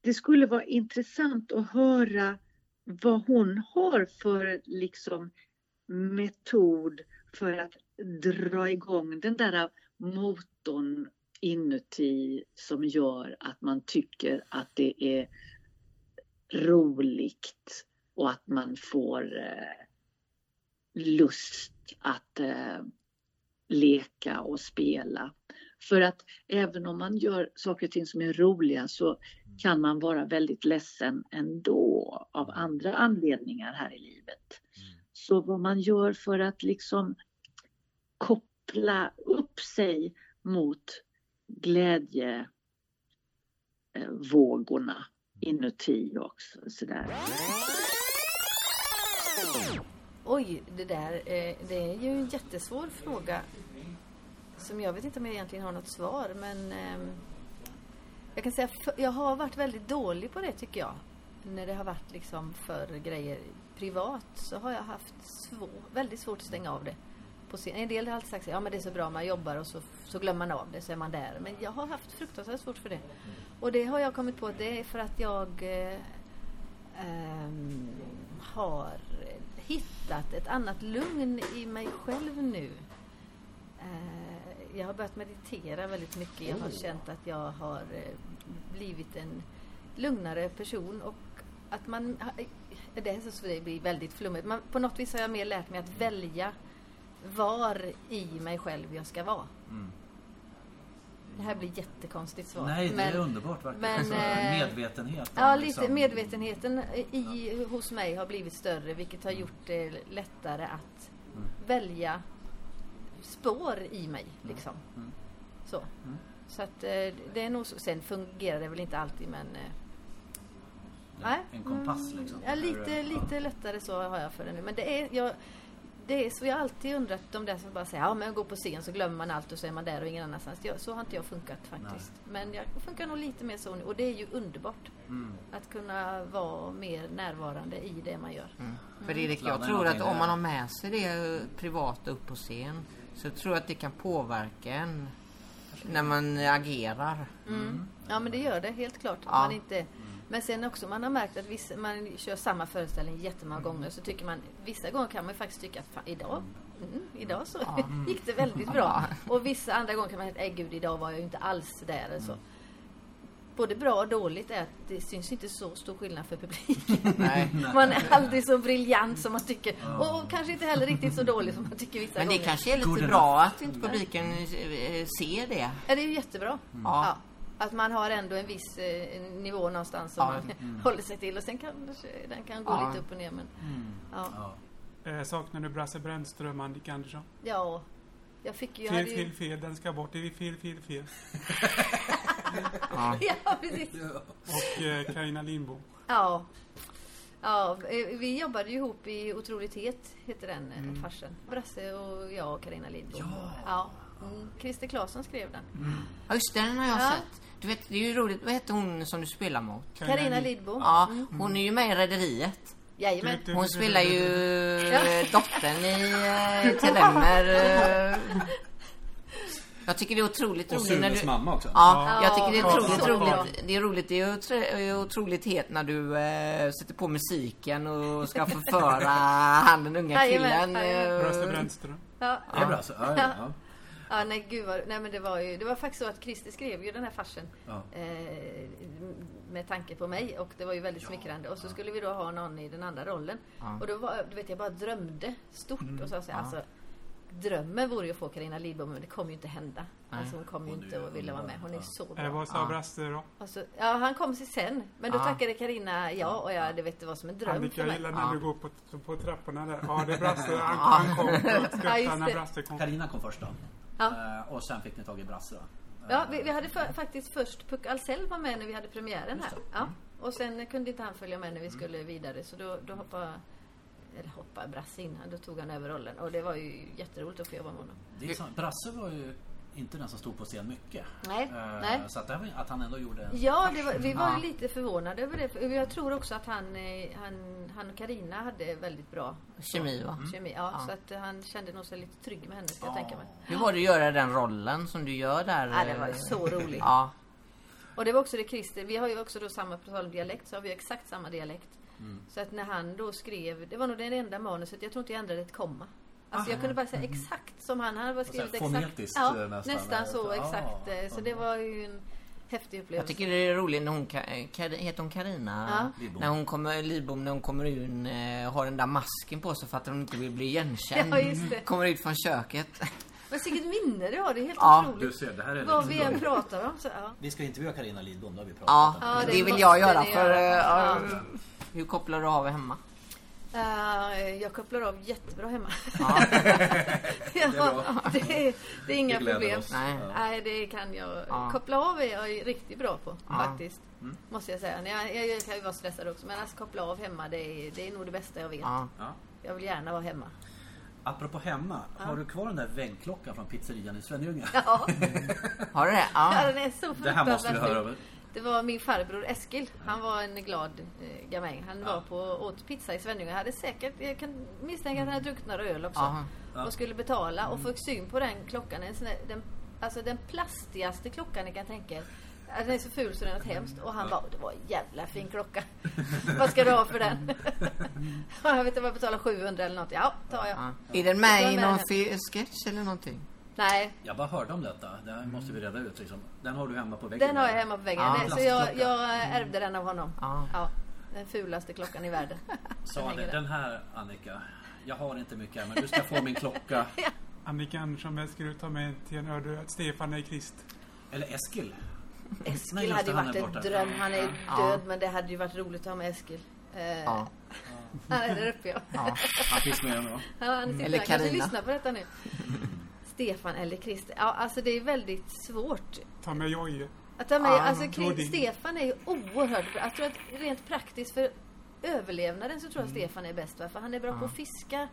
det skulle vara intressant att höra vad hon har för liksom metod för att dra igång den där motorn inuti som gör att man tycker att det är roligt och att man får eh, lust att eh, leka och spela. För att även om man gör saker och ting som är roliga så kan man vara väldigt ledsen ändå av andra anledningar här i livet. Så vad man gör för att liksom koppla upp sig mot glädjevågorna inuti också. Sådär. Oj, det där, eh, det är ju en jättesvår fråga. Som jag vet inte om jag egentligen har något svar, men ehm, jag kan säga f- jag har varit väldigt dålig på det tycker jag. När det har varit liksom för grejer privat så har jag haft svår, väldigt svårt att stänga av det. på scen. En del har alltid sagt så här, ja men det är så bra, man jobbar och så, så glömmer man av det så är man där. Men jag har haft fruktansvärt svårt för det. Och det har jag kommit på, det är för att jag eh, ehm, har hittat ett annat lugn i mig själv nu. Eh, jag har börjat meditera väldigt mycket. Jag har känt att jag har eh, blivit en lugnare person och att man... eh, Det här så det blir väldigt flummigt. Men på något vis har jag mer lärt mig Mm. att välja var i mig själv jag ska vara. Mm. Det här blir jättekonstigt svar. Nej, det men, är underbart verkligen. men, Alltså, eh, medvetenhet. Ja, om lite liksom- medvetenheten i, hos mig har blivit större vilket har gjort det lättare att Mm. välja spår i mig. Liksom. Mm. Så. Mm. så att eh, det är nog så. Sen fungerar det väl inte alltid men eh, Nej. Mm. En kompass liksom. ja, lite, lite lättare så har jag för det nu. Men det är, jag, det är så jag har alltid undrat de där som bara säger ja men gå på scen så glömmer man allt och så är man där och ingen annanstans. Jag, så har inte jag funkat faktiskt. Men jag funkar nog lite mer så nu och det är ju underbart. Mm. Att kunna vara mer närvarande i det man gör. För Erik, jag Sladdar tror att någonting om där. man har med sig det privata upp på scen så tror jag att det kan påverka en när man agerar. Mm. Ja men det gör det helt klart. Mm. Ja. Mm. Man inte, men sen också man har märkt att vissa, man kör samma föreställning jättemånga Mm. gånger så tycker man vissa gånger kan man ju faktiskt tycka att fan, idag, mm, idag så gick det väldigt bra. Och vissa andra gånger kan man säga att gud idag var jag ju inte alls där. Mm. Eller så. Både bra och dåligt är att det syns inte så stor skillnad för publiken. Nej. Man är aldrig så briljant som man tycker och, och kanske inte heller riktigt så dålig som man tycker vissa Men det gånger. kanske är Good lite bra att inte publiken eh, ser det. Ja, det är ju jättebra. Ja. Ja. Att man har ändå en viss eh, en nivå någonstans som Ja. man Mm. håller sig till. Och sen kan den kan gå Ja. lite upp och ner. Men, Mm. ja. Ja. Eh, saknar du Brasse Brännström, Annika Andersson? ja, jag fick ju... jag Fel, hade ju- fel, fel. Den ska bort. Det är fel, fel, fel. Ja. Ja, precis. Och eh, Carina Lindbom. Ja. Ja, eh, vi jobbade ju ihop i Otrolighet, heter den eh, farsen. Brasse och jag och Carina Lindbom. Ja. Mm. Christer Claesson skrev den. Ja, Just det, den har jag Ja. sett. Du vet, det är ju roligt. Vad hette hon som du spelar mot? Carina Lidbom. Mm. Ja, hon är ju med i Rederiet. Jajamän. Du- Hon spelar ju Mm. Ja. eh, dottern i eh, Till Emmer. eh. Jag tycker det är otroligt Och roligt när Sunes du... mamma också. Ja, Ja. jag tycker det är Ja, otroligt så bra. roligt. Det är roligt. Det är otro- otroligt het när du eh, sätter på musiken och ska förföra han den unga Jajamän, killen. jajamän. Brasse eh. Brännström. Ja. Det är bra. Så, ja, ja, ja. Ja, nej, gud vad, nej, men det var ju, det var faktiskt så att Christer skrev ju den här farsen Ja. eh, m- med tanke på mig och det var ju väldigt smickrande. Och så skulle vi då ha någon i den andra rollen. Ja. Och då var, du vet jag bara drömde stort och sa så här, alltså drömmen vore ju att få Carina Lidbom men det kommer ju inte hända. Alltså hon kom ju inte och ville vara med. Hon är ju så Eh, bra. vad sa Brasse då? Och så, ja, han kom sig sen. Men då Ja. tackade Carina ja och jag, det vet det var som en dröm Annika, för jag mig. gillar Ja. när du går på, på trapporna där. Ja, det är Brasse. Han, han kom. Jag Ja, skrattar just när det. Brasse kom. Carina kom först då. Ja. Eh, och sen fick ni tag i Brasse då. Eh, Ja, vi, vi hade för, faktiskt först Puck Alsell var med när vi hade premiären här. Ja. Och sen kunde inte han följa med när vi skulle vidare så då, då hoppade, eller hoppade Brasse in. Då tog han över rollen och det var ju jätteroligt att få jobba med honom. Det är sant. Brasse var ju inte den som stod på scen mycket. Nej, Eh, nej. Så att, det här var, att han ändå gjorde en... Ja, det var, vi var ju lite förvånade över det. för Jag tror också att han, eh, han, han och Karina hade väldigt bra Kemi va? kemi. Mm. Ja, Så att eh, han kände nog sig lite trygg med henne, ska jag tänka mig. Hur var det att göra den rollen som du gör där? Ja, det var ju eh? så roligt. Ja. Och det var också det Christer, vi har ju också då samma, på tal om dialekt, så har vi ju exakt samma dialekt. Mm. Så att när han då skrev, det var nog den enda manuset, jag tror inte jag ändrade ett komma. Alltså jag kunde bara säga exakt som han, han hade bara skrivit Ah. här exakt. fonetiskt, Ja, eh, nästan. nästan, så Ah, exakt. eh, Så det var ju en häftig Jag upplevelse. tycker det är roligt när hon, Ka- eh, Kar- heter hon Karina Ja. Lidbom. När hon kommer, Lidbom, när hon kommer in, eh, har den där masken på sig för att hon inte vill bli igenkänd. Ja, just det. Kommer ut från köket. Men vilket minne du har, det är helt Ja, otroligt. ser, det här är liksom- Vad vi än pratar om så, ja. Vi ska intervjua Carina Lidbom, det har vi pratat Ja, om. Ja, det, det vill måste jag göra ni för... göra. eh, Ja. eh, Hur kopplar du av hemma? Eh, jag kopplar av jättebra hemma. Ja. Ja, det, är det, är inga Det gläder problem. oss. Nej. Nej, det kan jag. Ja. Koppla av är jag ju riktigt bra på Ja. faktiskt. Mm. Måste jag säga. Jag, jag, jag kan ju vara stressad också. Men alltså koppla av hemma, det är, det är nog det bästa jag vet. Ja. Ja. Jag vill gärna vara hemma. Apropå hemma, har du kvar den där väggklockan från pizzerian i Svenljunga? Ja, Har du det? Ja. den är så Det här måste vi fruktansvärt höra fin. om. Det var min farbror Eskil. Han var en glad eh, gamäng. Han var på, åt pizza i Svenljunga. Han hade säkert, jag kan misstänka att han hade druckit några öl också. Aha. Mm. Och skulle betala och fick syn på den klockan. En sån där, den, alltså den plastigaste klockan ni kan tänka er. Alltså, den är så ful så den är något hemskt. Och han bara, det var en jävla fin klocka. Vad ska du ha för den? och jag vet inte, jag betalade 700 eller något. Ja, tar jag. Ja. Är den Jag med med i någon henne. fi- sketch eller någonting? Nej, Jag bara hörde om detta. Det här måste vi reda ut. Liksom. Den har du hemma på väggen. Den har jag hemma på väggen. Ja. Mm. Det- så jag, jag ärvde den av honom. Ja. Ja, den fulaste klockan i världen. Sa det, den här Annika. Jag har inte mycket men du ska få min klocka. Annika Andersson, jag skulle ta med till en öde ö. Stefan är krist. Eller Eskil. Nej, Eskil just hade det, ju han varit är en borta. dröm. Han är ju Ja. död men det hade ju varit roligt att ha med Eskil. Eh, Ja. Han är där uppe ja. ja. Han finns med ändå. Han sitter Eller där. kanske Carina. lyssnar på detta nu. Stefan eller Christer. Ja, alltså det är väldigt svårt. Ta med Jojje. Att ta med, Ja, alltså, men Chris- Claudine. Stefan är ju oerhört bra. Jag tror att rent praktiskt för överlevnaden så tror Mm. jag Stefan är bäst. Va? För han är bra på att fiska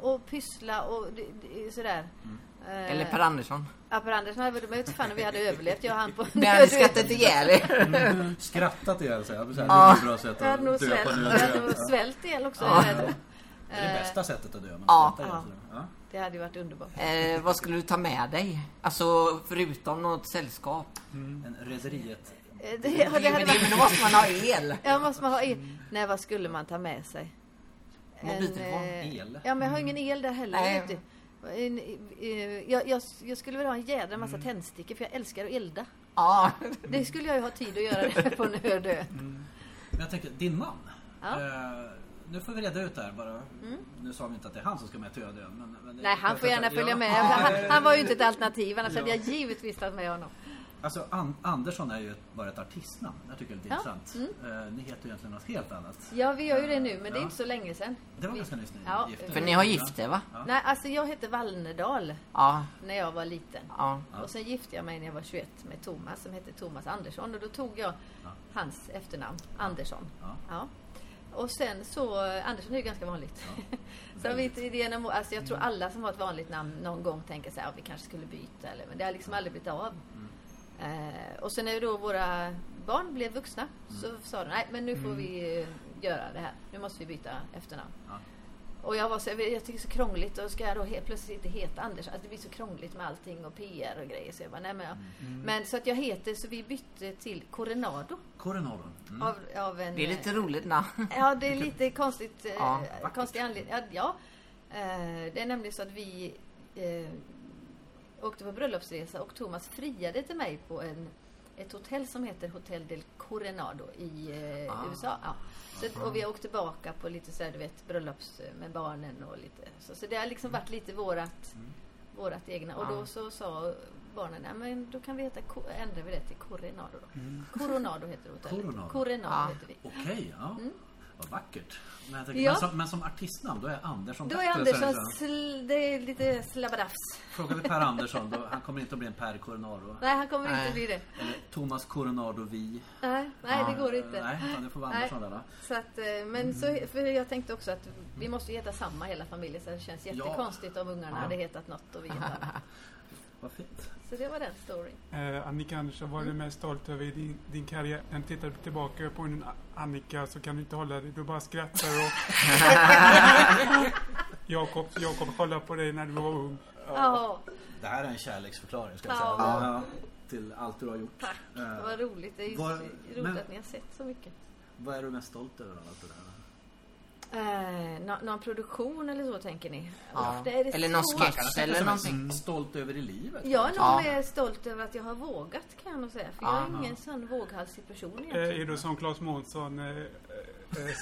och pyssla och d- d- sådär. Eh, Mm. Eller Per Andersson? Ja, Per Andersson hade väl inte fan om vi hade överlevt, jag och han på... Det hade skrattat ihjäl er. Skrattat ihjäl sig. Jag vill säga, Det är ett bra sätt Jag hade nog att dö svält, på jag nu. hade nog Eh. svält ihjäl också. jag vet. Det är det bästa sättet att dö. Man Ja. skrattar ihjäl sig. Ja. Det hade ju varit underbart. Eh, vad skulle du ta med dig? Alltså förutom något sällskap? Mm. En Rederiet. Eh, Det, ja, Men det hade varit... men då måste man ha el. Ja, måste man ha el? Nej, vad skulle man ta med sig? Mobiltelefon, eh, el. Ja, men jag har ingen el där heller. Nej. vet du. En, eh, jag, jag, jag skulle vilja ha en jädra Mm. massa tändstickor, för jag älskar att elda. Ja. Det skulle jag ju ha tid att göra det på en öde ö. Mm. Men jag tänkte, din man. Ja. Mm. Eh, nu får vi reda ut det här bara. Nu sa vi inte att det är han som ska med till Ödön. Men, men det- Nej, han får gärna Ja. följa med. Han, han var ju inte ett alternativ, annars hade jag givetvis tagit med honom. Alltså, An- Andersson är ju ett- bara ett artistnamn. Jag tycker det är lite Ja. Mm. intressant. Eh, ni heter ju egentligen något helt annat. Ja, vi gör ju det nu, men det är Ja. inte så länge sedan. Det var Vi- ganska nyss ni Ja. gifte För ni har gift er va? Nej, alltså jag hette Wallnedal Ja. när jag var liten. ja. Och sen gifte jag mig när jag var 21 med Thomas som hette Thomas Andersson och då tog jag hans efternamn, Andersson. Ja. Ja. Och sen så, Andersson är ju ganska vanligt. så har vi inte genom, alltså jag tror alla som har ett vanligt namn någon gång tänker så här, "Ja, vi kanske skulle byta eller, men det har liksom aldrig blivit av. Mm. Eh, och sen när då våra barn blev vuxna så Mm. sa de, nej men nu får vi eh, göra det här, nu måste vi byta efternamn. Ja. Och jag var så, jag tycker det är så krångligt och ska jag då helt plötsligt inte heta Anders. Alltså det blir så krångligt med allting och PR och grejer. Så jag bara, nej men, jag, Mm. men så att jag heter, så vi bytte till Coronado. Coronadon. Mm. Av, av en, Det är lite roligt namn. Ja, det är lite konstigt. eh, Ja, konstig anledning. Ja, ja. Eh, Det är nämligen så att vi eh, åkte på bröllopsresa och Thomas friade till mig på en, ett hotell som heter Hotel del Coronado i eh, USA. Ja. Så, att- och vi har åkt tillbaka på lite så här, du vet, bröllops eh, med barnen och lite så. Så det har liksom varit lite vårat, vårat egna. Och då så sa barnen, nej men då kan vi heta, Ko- ändrar vi det till Coronado då. Coronado heter hotellet. Coronado. Coronado Ja. heter vi. Okej, ja. Vad vackert. Men, jag tänker, Ja. men, som, men som artistnamn, då är Andersson Då är bättre, så Andersson, det så här. sl- det är lite slabbadafs. Frågar vi Per Andersson, då, han kommer inte att bli en Per Coronado. Nej, han kommer Nej. inte bli det. Eller Thomas Coronado Vi. Nej, nej det går inte. Nej, utan det får vara Nej. Andersson där. va? Så att, eh, men så, för jag tänkte också att vi måste ju heta samma hela familjen så det känns jättekonstigt om ungarna hade hetat något och vi inte hade. Vad fint. Så det var den storyn. Eh, Annika Andersson, vad är du mest stolt över i din, din karriär? När du tittar tillbaka på en Annika så kan du inte hålla dig. Du bara skrattar och... Jakob, Jakob kollar på dig när du var ung. Ja, Det här är en kärleksförklaring ska jag Ja. säga. Till allt du har gjort. tack. Eh, Vad roligt. Det är ju var- så roligt men- att ni har sett så mycket. Vad är du mest stolt över av allt det där? Eh, nå- någon produktion eller så tänker ni? Ja. Uff, det är det Eller någon svårt. sketch eller någonting. Stolt över i livet? Jag är nog Ja. mer stolt över att jag har vågat kan jag nog säga. För jag är ingen sån våghalsig person Eh, egentligen. är du som Claes Månsson, eh, eh,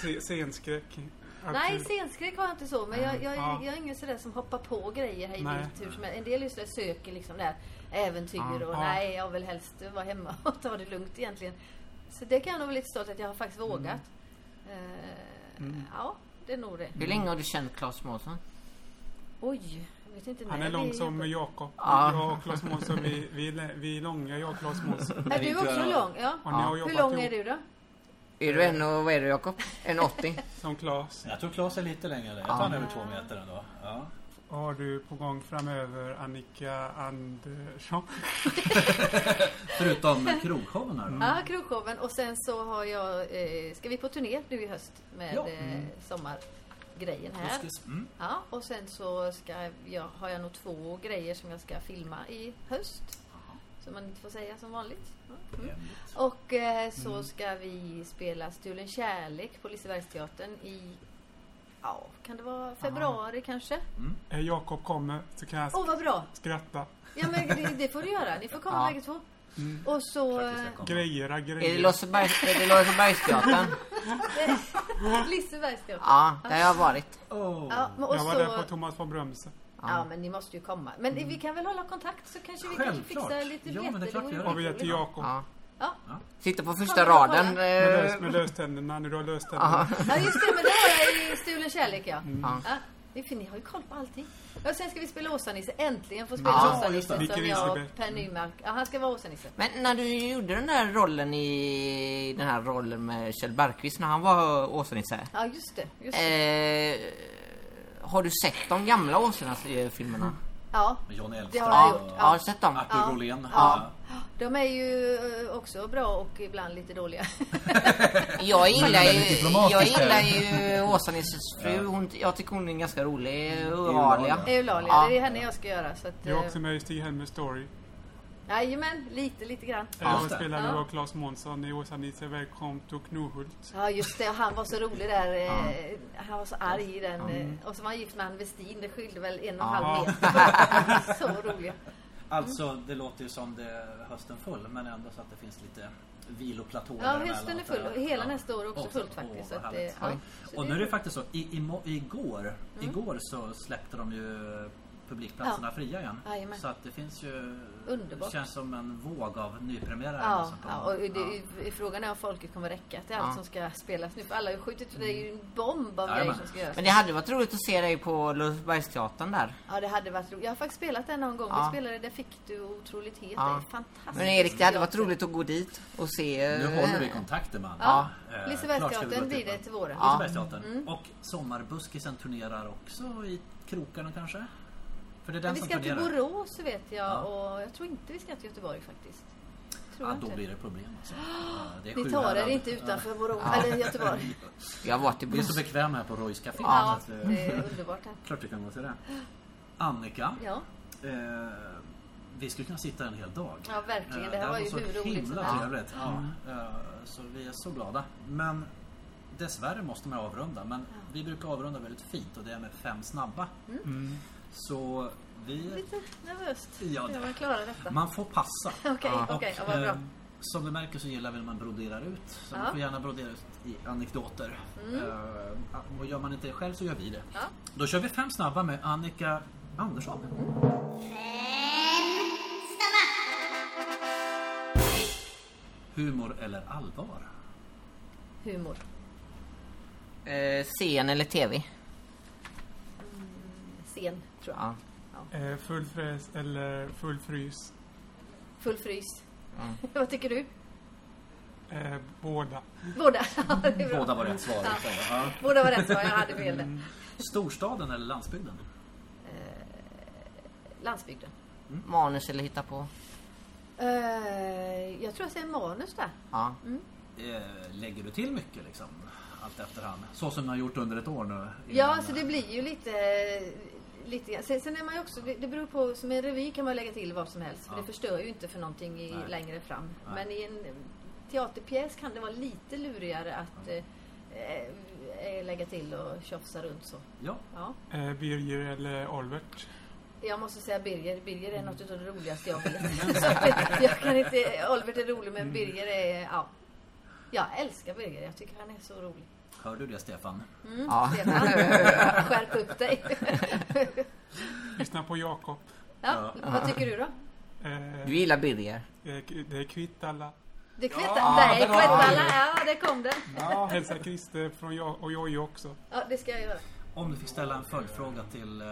se- scenskräck? Att Nej, du- scenskräck har jag inte så. Men jag, jag, Ja. jag är ingen sådär som hoppar på grejer hej Nej. vilt hur som helst. En del är ju sådär söker liksom där äventyr och Ja. nej, jag vill helst vara hemma och ta det lugnt egentligen. Så det kan jag nog vara lite stolt att jag har Mm. faktiskt vågat. Eh, Ja, det är nog det. Hur länge har du känt Claes Månsson? Oj, jag vet inte. Han när är lång det som Jakob. Ja. Jag och Claes Månsson, vi, vi, är lä- vi är långa, jag och Claes Månsson. Är du också lång? Ja. Och ni har Hur jobbat lång är ihop Mm. du då? Är du en och vad är du Jakob? En 80? Som Claes. Jag tror Claes är lite längre. Jag tror han är över två meter ändå. Ja. Vad har du på gång framöver, Annika Andersson? Förutom krogshowen här då. Ja, krogshowen. Och sen så har jag, eh, ska vi på turné nu i höst med Ja. eh, sommargrejen här. Precis. Mm. Ja, och sen så ska jag, har jag nog två grejer som jag ska filma i höst. Som man inte får säga som vanligt. Ja. Mm. Hemligt. Och eh, så ska vi spela Stulen kärlek på Lisebergsteatern i, ja, kan det vara februari kanske? Eh, Jakob kommer så kan jag Åh, vad bra! skratta. Ja, men det, det får du göra. Ni får komma Ja. bägge två. Och så Vi ska eh, komma. Grejera Är det grejer. Losebergs- är det Lisebergsteatern? Lisebergsteatern. Ja, där har jag varit. Åh. Ja, men och Jag var där på så, Thomas von Brömse. ja, men ni måste ju komma. Men vi kan väl hålla kontakt så kanske vi kan Mm. Självklart. fixa lite Ja, biljetter. men det är klart vi gör. Och vi är till Jakob. Ja. Ja. Sitta på första Ja, men jag raden. eh, Med, lös, med löständerna, när du har löständerna. Ja, just det. Men det har jag i Stulen kärlek, ja. Ja. ja. det är fint, Ni har ju koll på allting. Ja, sen ska vi spela Åsa-Nisse. Äntligen får spela Ja, Åsa-Nisse som Vilken jag och Elisabeth. Per Nymark. Ja, han ska vara Åsa-Nisse. Men när du gjorde den där rollen i den här rollen med Kjell Bergqvist när han var Åsa-Nisse. Ja, just det. Just det. Eh, har du sett de gamla Åsa-filmerna? Ja, Med Johnny det Elfström har jag Ja, gjort. jag har Ja. sett dem. Artur Ja. Rolén. Ja. De är ju eh, också bra och ibland lite dåliga. Jag gillar väldigt ju, diplomatisk jag här. gillar ju Åsa-Nisses fru. Hon, jag tycker hon är en ganska rolig. Euralia. Euralia. Eulalia, Ja. det är henne jag ska göra. Så att, Du är eh, också med i Stig-Helmers story. jajamän, lite, lite grann. Ja, just det. spelar du Ja. av Claes Månsson i Åsa Nisse Välkommen till Knohult. Ja just det, och han var så rolig där. eh, Han var så arg i den. eh, Och så var han gift med han Westin, det skilde väl en och en halv meter. så rolig. Alltså, det låter ju som det är hösten full, men ändå så att det finns lite viloplatåer Ja, däremellan. hösten är full och hela nästa år är också Åh, fullt åh, faktiskt. vad så att det, Mm. härligt. ja. Så Och nu är det faktiskt så, i, imo- igår, igår så släppte de ju publikplatserna fria igen. Jajamän. Så att det finns ju... Underbart. känns som en våg av nypremiärer. Ja, som kommer. ja, och det, frågan är om folket kommer räcka till allt som ska spelas nu. För alla har ju skjutit, det är ju en bomb av grejer Jajamän. som ska göras. Men det hade varit roligt att se dig på Lundsbergsteatern där. Ja, det hade varit roligt. Jag har faktiskt spelat den någon gång. Ja. Vi spelade Där fick du otroligt het. Ja. Det är fantastiskt. Men Erik, det hade varit roligt att gå dit och se. Alltså, eh, Nu håller vi kontakter med Ja, Eh, klart ska vi gå Lisebergsteatern blir till det den. till våren. Lisebergsteatern. Och Sommarbuskisen turnerar också i krokarna kanske? För det är den Men vi som ska till turnerar. Borås vet jag och jag tror inte vi ska till Göteborg faktiskt. Tror Ja, jag då inte. blir det problem. Alltså. Ja, det är Ni tar er Sjuhärad. inte utanför Borås, eller Göteborg. Jag har varit i Vi är så Borås. bekväma här på Roys Café. Ja, så att, eh, det är underbart här. Klart vi kan gå till det. Annika, Ja, eh, vi skulle kunna sitta en hel dag. ja verkligen. Eh, Det här var ju så hur roligt som himla helst. trevligt. Ja. Eh, Så vi är så glada. Men dessvärre måste man avrunda. Men vi brukar avrunda väldigt fint och det är med fem snabba. Så vi... Mm. Lite nervöst. Ja, Ja, det- man klarar detta. Man får passa. Okej, okej, ja, vad bra. eh, som du märker så gillar väl man broderar ut. Så Ja. man Mm. får gärna brodera ut i anekdoter. Eh, och gör man inte det själv så gör vi det. Ja. Då kör vi fem snabba med Annika Andersson. Humor eller allvar? Humor. Eh, scen eller TV? Scen, tror jag. Ja. Eh, full fräs eller full frys? Full frys. Vad tycker du? Eh, båda. Båda. Ja, det är bra. Båda var rätt svar. liksom. Mm. Ja. Båda var rätt svar. Jag hade fel där. Storstaden eller landsbygden? Eh, Landsbygden. Mm. Manus eller hitta på? Eh, jag tror jag säger manus där. Ja. Eh, lägger du till mycket liksom? Allt efterhand. Så som du har gjort under ett år nu. Ja, innan- så det blir ju lite... lite grann. sen, sen är man ju också... Det, det beror på... Som en revy kan man lägga till vad som helst. För det förstör ju inte för någonting i, Nej. längre fram. Nej. Men i en teaterpjäs kan det vara lite lurigare att eh, eh, lägga till och tjafsa runt så. Ja, Ja. Eh, Birger eller Olvert? Jag måste säga Birger. Birger är något av det roligaste jag vet. Så att jag kan inte... Oliver är rolig, Mm. men Birger är... Ja. Jag älskar Birger. Jag tycker han är så rolig. hör du det Stefan? ja. Stefan, skärp upp dig. Lyssna på Jakob. Ja, vad tycker du då? Eh, Du gillar Birger? det är- det är Kvittala. Det kvettar? Nej, kvettarna. Ja, där kom den. Ja, hälsa Christer från jag och Jojje också. Ja, det ska jag göra. Om du fick ställa en följdfråga till eh,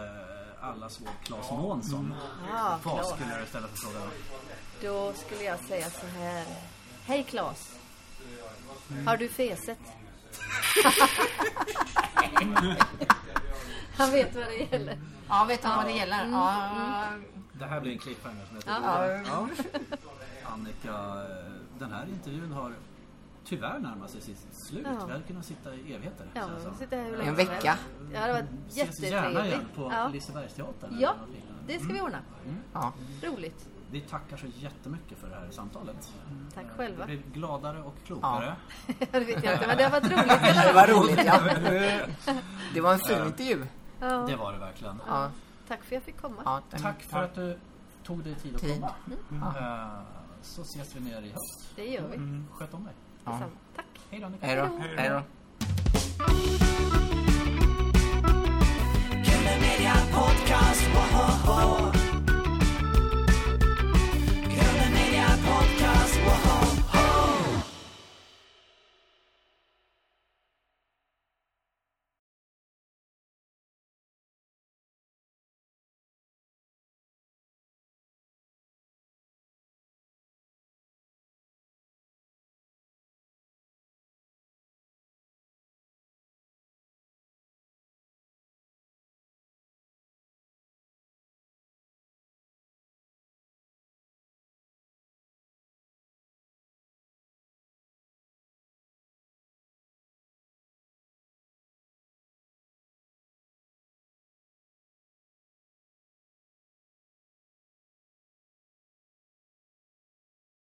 allas vår Claes Månsson. Mm. Ja, Vad klart. skulle du ställa för fråga? Då skulle jag säga så här. Hej Claes. Har du feset? Han vet vad det gäller. Ja, vet han vad det gäller? Ja, Det här blir en cliffhanger som heter Ja. duga. ja. Annika, eh, den här intervjun har tyvärr närmat sig sitt slut. Ja. Vi hade kunnat sitta i evigheter. Ja, känns det vi som. sitter här hur länge en som vecka. helst. Ja, det har varit Ses gärna igen jättetrevligt. på Ja. Lisebergsteatern. eller ja, något liknande. det ska vi ordna. Ja. Roligt. Vi tackar så jättemycket för det här samtalet. Mm. Tack själva. Vi blir gladare och klokare. det vet jag inte, men det har varit roligt. i alla Det fall. var roligt, ja. Det var en fin intervju. Det Ja, var det verkligen. Ja, tack för att jag fick komma. ja, den- Tack för att du tog dig tid att Tid. komma. Mm. Eh, Så ses vi nere i höst. Det gör vi. Sköt om dig. Detsamma. Tack. Hej då Annika. Hej då. Hej då.